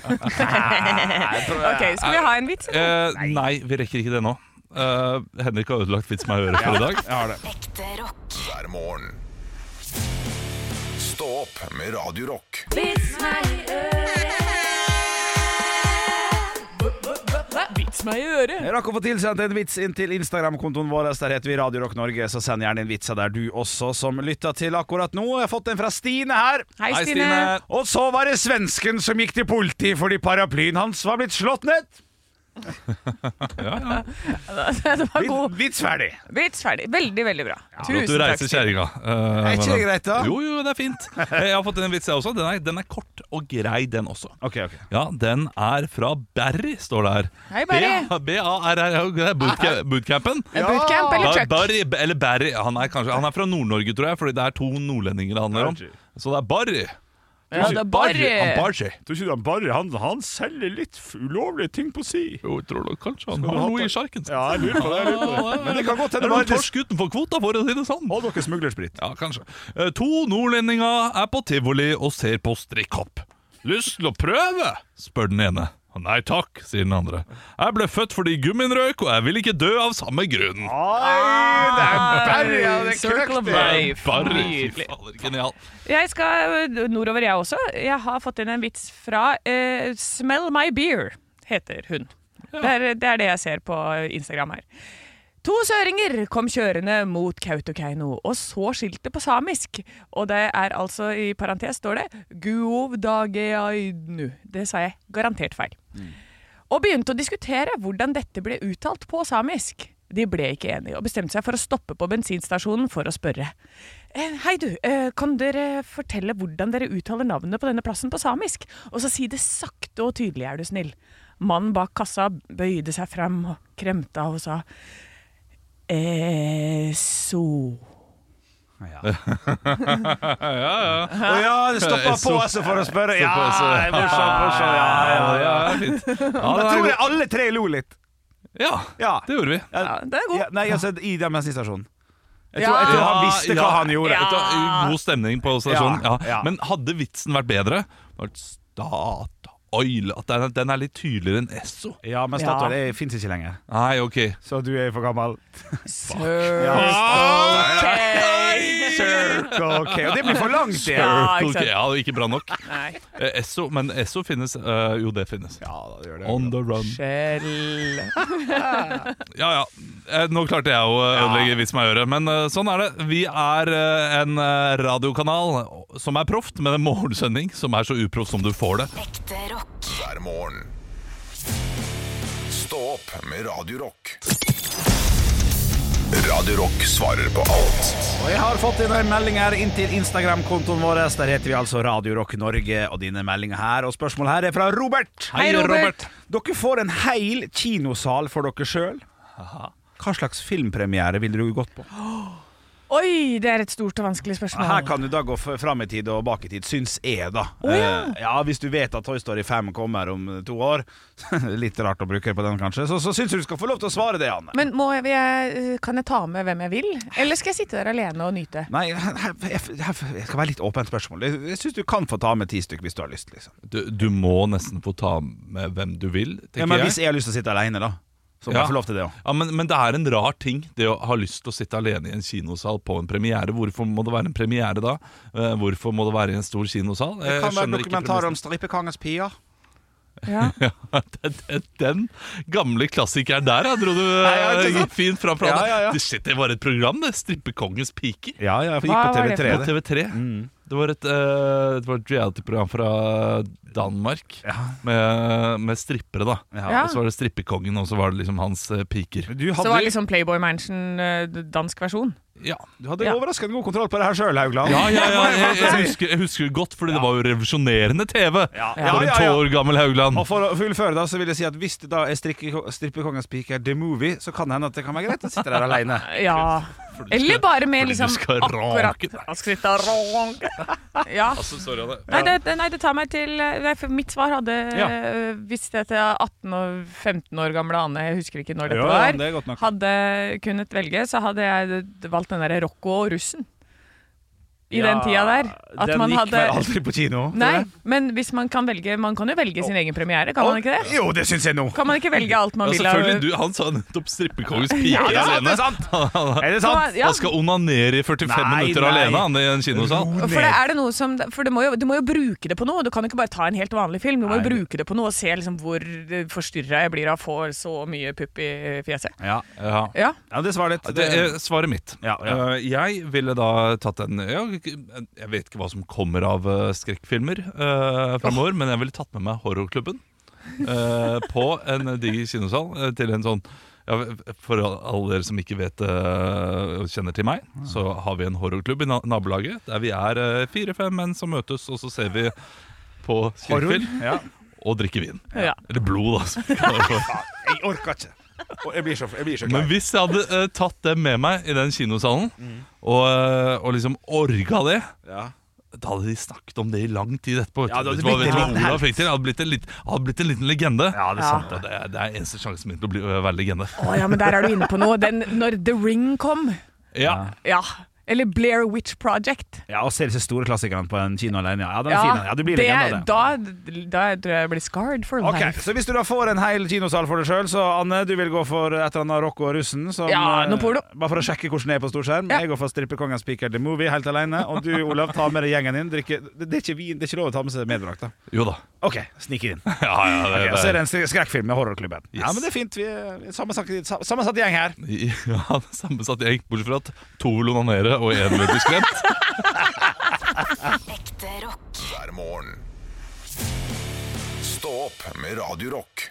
S6: ok, Skal vi ha en vits? eller?
S4: Eh, nei, vi rekker ikke det nå. Eh, Henrik har ødelagt vits med å gjøre for i dag.
S3: Ekte rock. Hver morgen. Stå opp med Radio Rock.
S8: Vits meg i øret. Vits meg i øret.
S5: Jeg rakk å få tilsendt en vits inn til Instagram-kontoen vår. Der heter vi Radio Rock Norge, så send gjerne en vits av der du også, som lytter til akkurat nå. Jeg har fått en fra Stine her.
S6: Hei, Hei, Stine. Stine.
S5: Og så var det svensken som gikk til politiet fordi paraplyen hans var blitt slått (laughs) ned.
S6: Den var god.
S5: Vits ferdig.
S6: Vits ferdig. Veldig, veldig bra.
S4: At du reiser kjerringa. Eh,
S5: Er ikke det greit, da?
S4: Jo, jo, det er fint. Eh, Jeg har fått en vits, jeg også. Den er, den er kort og grei, den også.
S5: Ok, ok
S4: Ja, Den er fra Barry, står det her.
S6: Hei, Barry.
S4: B- B-A-R-R, det er bootca- bootcampen.
S6: Ja. Bootcamp eller
S4: Bar-
S6: truck?
S4: Barry, eller Barry. Han er, kanskje, han er fra Nord-Norge, tror jeg, fordi det er to nordlendinger det handler om. Så det er Barry.
S6: Ja, det er Barry.
S4: Han Barry.
S5: Tror ikke du han Barry han, han selger litt f- ulovlige ting på si?
S4: Jo, jeg tror nok kanskje han
S5: Skal du
S4: har
S5: ha
S4: noe
S5: på-
S4: i sjarken.
S5: Ja, jeg lurer på det. Jeg lurer på det. Men det kan godt
S4: Det
S5: hende
S4: er noen
S5: Barry-
S4: torsk utenfor kvota, for å si det sånn.
S5: Og dere smugler sprit.
S4: Ja, kanskje. Eh, To nordlendinger er på tivoli og ser på strikkhopp. Lyst til å prøve? spør den ene. Nei takk, sier den andre. Jeg ble født fordi gummien røk, og jeg vil ikke dø av samme grunn.
S5: Oi, det er Barry, ja, det
S6: Circle of
S5: knøkte.
S6: life.
S4: Barry, fy
S6: Nydelig.
S4: fader, genial.
S6: Jeg skal eh, nordover, jeg også. Jeg har fått inn en vits fra eh, Smell My Beer, heter hun. Det, er, det er det jeg ser på Instagram her. To søringer kom kjørende mot Kautokeino og så skiltet på samisk. Og det er altså, i parentes står det, Guovdageainu. Det sa jeg garantert feil. Og begynte å diskutere hvordan dette ble uttalt på samisk. De ble ikke enige og bestemte seg for å stoppe på bensinstasjonen for å spørre. Eh, Hei du, eh, kan dere fortelle hvordan dere uttaler navnet på denne plassen på samisk? Og så si det sakte og tydelig, er du snill. Mannen bak kassa bøyde seg frem og kremta og sa "Eh, Eso.
S4: ja, ja.
S5: Å (laughs) ja, det stoppa på S-et for å (laughs) spørre. Ja, morsomt, morsomt. Ja, ja, ja.
S4: fint.
S5: Jeg tror jeg alle tre lo litt.
S4: Ja, det gjorde vi.
S5: Ja,
S6: det er god.
S5: Eh, Ja, nei, altså, i den bensinstasjonen. Jeg
S4: Ja.
S5: tror, jeg tror han visste hva
S4: Ja,
S5: han gjorde.
S4: vet du hva, God stemning på stasjonen. Ja.
S5: Ja, ja.
S4: Men hadde vitsen vært bedre? Vært Statoil At den er- den er litt tydeligere enn Esso.
S5: Ja, men Statoil det fins ikke lenger.
S4: Nei, ok.
S5: Så du er for gammel. Circle K. Og det blir for langt, det.
S4: Ja,
S5: Ja, ikke
S4: Circle
S5: sant?
S4: K, ja, det er ikke bra nok.
S6: Nei.
S4: Eh, Esso, men Esso finnes. eh, jo, det finnes. On the run. Ja, ja. Eh, nå klarte jeg å eh, ødelegge vits meg i øret, men eh, sånn er det. Vi er eh, en eh, radiokanal som er proft, men en morgensending som er så uproff som du får det.
S3: Ekte rock. Hver morgen. Stå opp med Radio Rock. Radio Rock svarer på alt.
S5: Og jeg har fått inn en melding her inn til Instagram-kontoen vår. Der heter vi altså Radio Rock Norge, og dine meldinger her. Og spørsmålet her er fra Robert.
S4: Hei, Robert.
S5: Dere får en heil kinosal for dere sjøl. Hva slags filmpremiere ville du gått på?
S6: Oi, det er et stort og vanskelig spørsmål.
S5: Her kan du da gå f- fram i tid og bak i tid, syns jeg, da.
S6: Å, ja.
S5: Eh, ja, Hvis du vet at Toy Story 5 kommer om eh, to år, (laughs) litt rart å bruke på den kanskje, så, så syns jeg du skal få lov til å svare det, Anne.
S6: Men må jeg, eh, kan jeg ta med hvem jeg vil, eller skal jeg sitte der alene og nyte?
S5: Nei, her, jeg, her, jeg skal være litt åpent spørsmål. Jeg, jeg syns du kan få ta med ti stykk hvis du har lyst. liksom
S4: Du, du må nesten få ta med hvem du vil, tenker
S5: ja, men
S4: jeg.
S5: Hvis jeg har lyst til å sitte alene, da, så må
S4: Ja.
S5: jeg få lov til det òg.
S4: Ja, men, men det er en rar ting, det å ha lyst til å sitte alene i en kinosal på en premiere. Hvorfor må det være en premiere da? Eh, Hvorfor må det være i en stor kinosal?
S5: Det
S4: Jeg
S5: kan være
S4: Eh, skjønner ikke
S5: dokumentar om
S4: premissen. (laughs)
S5: strippekongens pier.
S4: ja, den, den- den gamle klassikeren der, jeg tror du eh,
S5: ikke sant?
S4: gikk fint fram fra
S5: Ja,
S4: det.
S5: ja, ja.
S4: Det, shit, det var et program, det. 'Strippekongens piker'.
S5: Ja, ja, for det gikk Hva på var det TV3,
S4: På
S5: det.
S4: TV3. Det var et, eh, det var et reality-program fra Danmark med, med strippere, da.
S6: Ja.
S4: Og så var det strippekongen, og så var det liksom hans eh, piker.
S6: Så var liksom Playboy Mansion eh, dansk versjon.
S4: Ja.
S5: Du hadde overraskende god kontroll på det her sjøl, Haugland.
S4: Ja, ja, ja,
S5: Det må
S4: jeg,
S5: jeg
S4: jeg,
S5: faktisk si.
S4: husker, jeg husker godt, fordi det var jo revolusjonerende TV
S5: Ja,
S4: for en
S5: ja, ja.
S4: tolv år gammel Haugland.
S5: Og for å fullføre da, så vil jeg si at hvis det da er strikke- Strippekongens pike er The Movie, så kan det hende at det kan være greit å sitte der
S6: (laughs)
S5: alene
S6: Ja. Eller bare med
S5: fordi du
S6: liksom
S5: skal
S6: akkurat
S5: ranke
S6: Skritt av ronk.
S5: (laughs)
S6: Ja.
S4: Altså, sorry, Anne.
S6: Nei det, det- nei, det tar meg til nei, for Mitt svar hadde
S4: Ja.
S6: øh, Hvis dette 18 og 15 år gamle Anne, jeg husker ikke når dette
S5: Ja, ja,
S6: var,
S5: men det er godt nok.
S6: hadde kunnet velge, så hadde jeg valgt den derre Rocco og russen. I den
S5: Ja,
S6: tida der.
S5: den gikk vel aldri på kino?
S6: Nei, men hvis man kan velge Man kan jo velge sin egen premiere, kan man ikke det?
S5: Jo, det syns jeg nå!
S6: Kan man ikke velge alt man
S4: Ja,
S6: vil
S4: selvfølgelig, du, Han sa nettopp 'strippekongens pike'
S6: Ja, det er sant,
S4: alene.
S6: det er
S4: (laughs) Han-
S6: Er det sant?
S4: Han
S6: Ja.
S4: han skal onanere i 45
S5: Nei,
S4: minutter
S5: nei.
S4: alene han, i en kinosal.
S6: For, det er det noe som, for du, må jo, du må jo bruke det på noe. Du kan ikke bare ta en helt vanlig film. Du må jo bruke det på noe og se liksom hvor forstyrra jeg blir av å få så mye pupp i fjeset.
S5: Ja,
S4: ja.
S6: Ja.
S5: det er svaret ditt.
S4: Det er svaret mitt. Eh, Jeg ville da tatt en ja, Jeg vet ikke hva som kommer av eh, skrekkfilmer uh, framover, men jeg ville tatt med meg Horrorklubben eh, på en diger kinosal eh, til en sånn ja, For alle dere som ikke vet eh, og kjenner til meg, så har vi en horrorklubb i na nabolaget der vi er eh, fire-fem menn som møtes, og så ser vi på skrekkfilm
S5: Horror, ja.
S4: og drikker vin.
S5: Ja.
S4: Eller blod, da. som vi kaller det for.
S5: Jeg orker ikke. Og Jeg blir så, jeg blir så
S4: Men
S5: klar.
S4: hvis jeg hadde eh, tatt dem med meg i den kinosalen,
S5: Mm.
S4: og, eh, og liksom orga det
S5: Ja.
S4: Da hadde de snakket om det i lang tid etterpå. vet
S5: Ja,
S4: du.
S5: det hadde
S4: Vet du hva-
S5: blitt
S4: vet du hva
S5: en liten
S4: Olav
S5: helt.
S4: fikk til? Det hadde blitt en lit- hadde blitt en liten legende. Ja,
S5: det er sant,
S4: det. er, det er eneste sjansen min til å bli, å være legende.
S6: Å ja, men der er du inne på noe. Den, når The Ring kom,
S4: Ja.
S6: ja. Eller Blair Witch Project.
S5: Ja, og se disse store klassikerne på en kino alene. Ja, den er
S6: Ja,
S5: fin. den. Ja, du blir
S6: det-
S5: legende av det.
S6: Da, da tror jeg jeg blir scarred for
S5: Ok,
S6: life.
S5: så Hvis du da får en hel kinosal for deg sjøl, så Anne, du vil gå for et eller annet Rocco og russen? Som,
S6: Ja,
S5: eh,
S6: noe porno.
S5: Bare for å sjekke hvordan det er på storskjerm. Jeg går for Strippekongens Piker The Movie helt alene. Og du, Olav, tar med deg gjengen din. Drikker, det, det, er ikke vin, det er ikke lov å ta med seg medbrakt, da.
S4: Jo da. (laughs)
S5: OK, sniker inn.
S4: Ja, ja, det,
S5: Ok,
S4: det.
S5: så er det en skre- skrekkfilm med horrorklubben. Ja,
S4: Yes.
S5: men det er fint. Vi er vi er sammensatt, sam- sammensatt gjeng her.
S4: (laughs) Ja, det er samme satt jeg gikk bort fra at to vil onanere og én vil bli skremt.
S3: Ekte rock. Hver morgen. Stå opp med Radio Rock.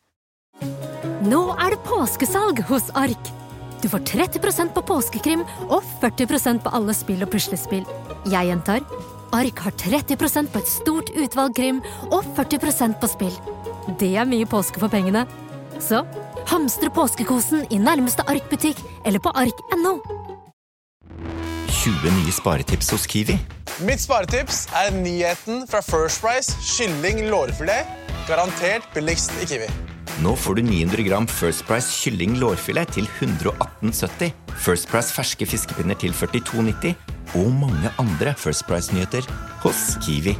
S11: Nå er det påskesalg hos Ark. Du får 30 på påskekrim og 40 på alle spill og puslespill. Jeg gjentar Ark har 30 på et stort utvalg krim og 40 på spill. Det er mye påske for pengene. Så hamstre påskekosen i nærmeste Ark-butikk eller på ark.no.
S13: 20 nye sparetips hos Kiwi.
S14: Mitt sparetips er nyheten fra First Price kylling lårfilet. Garantert billigst i Kiwi.
S13: Nå får du 900 gram First Price kylling lårfilet til 118,70. First Price ferske fiskepinner til 42,90. Og mange andre First Price-nyheter hos Kiwi.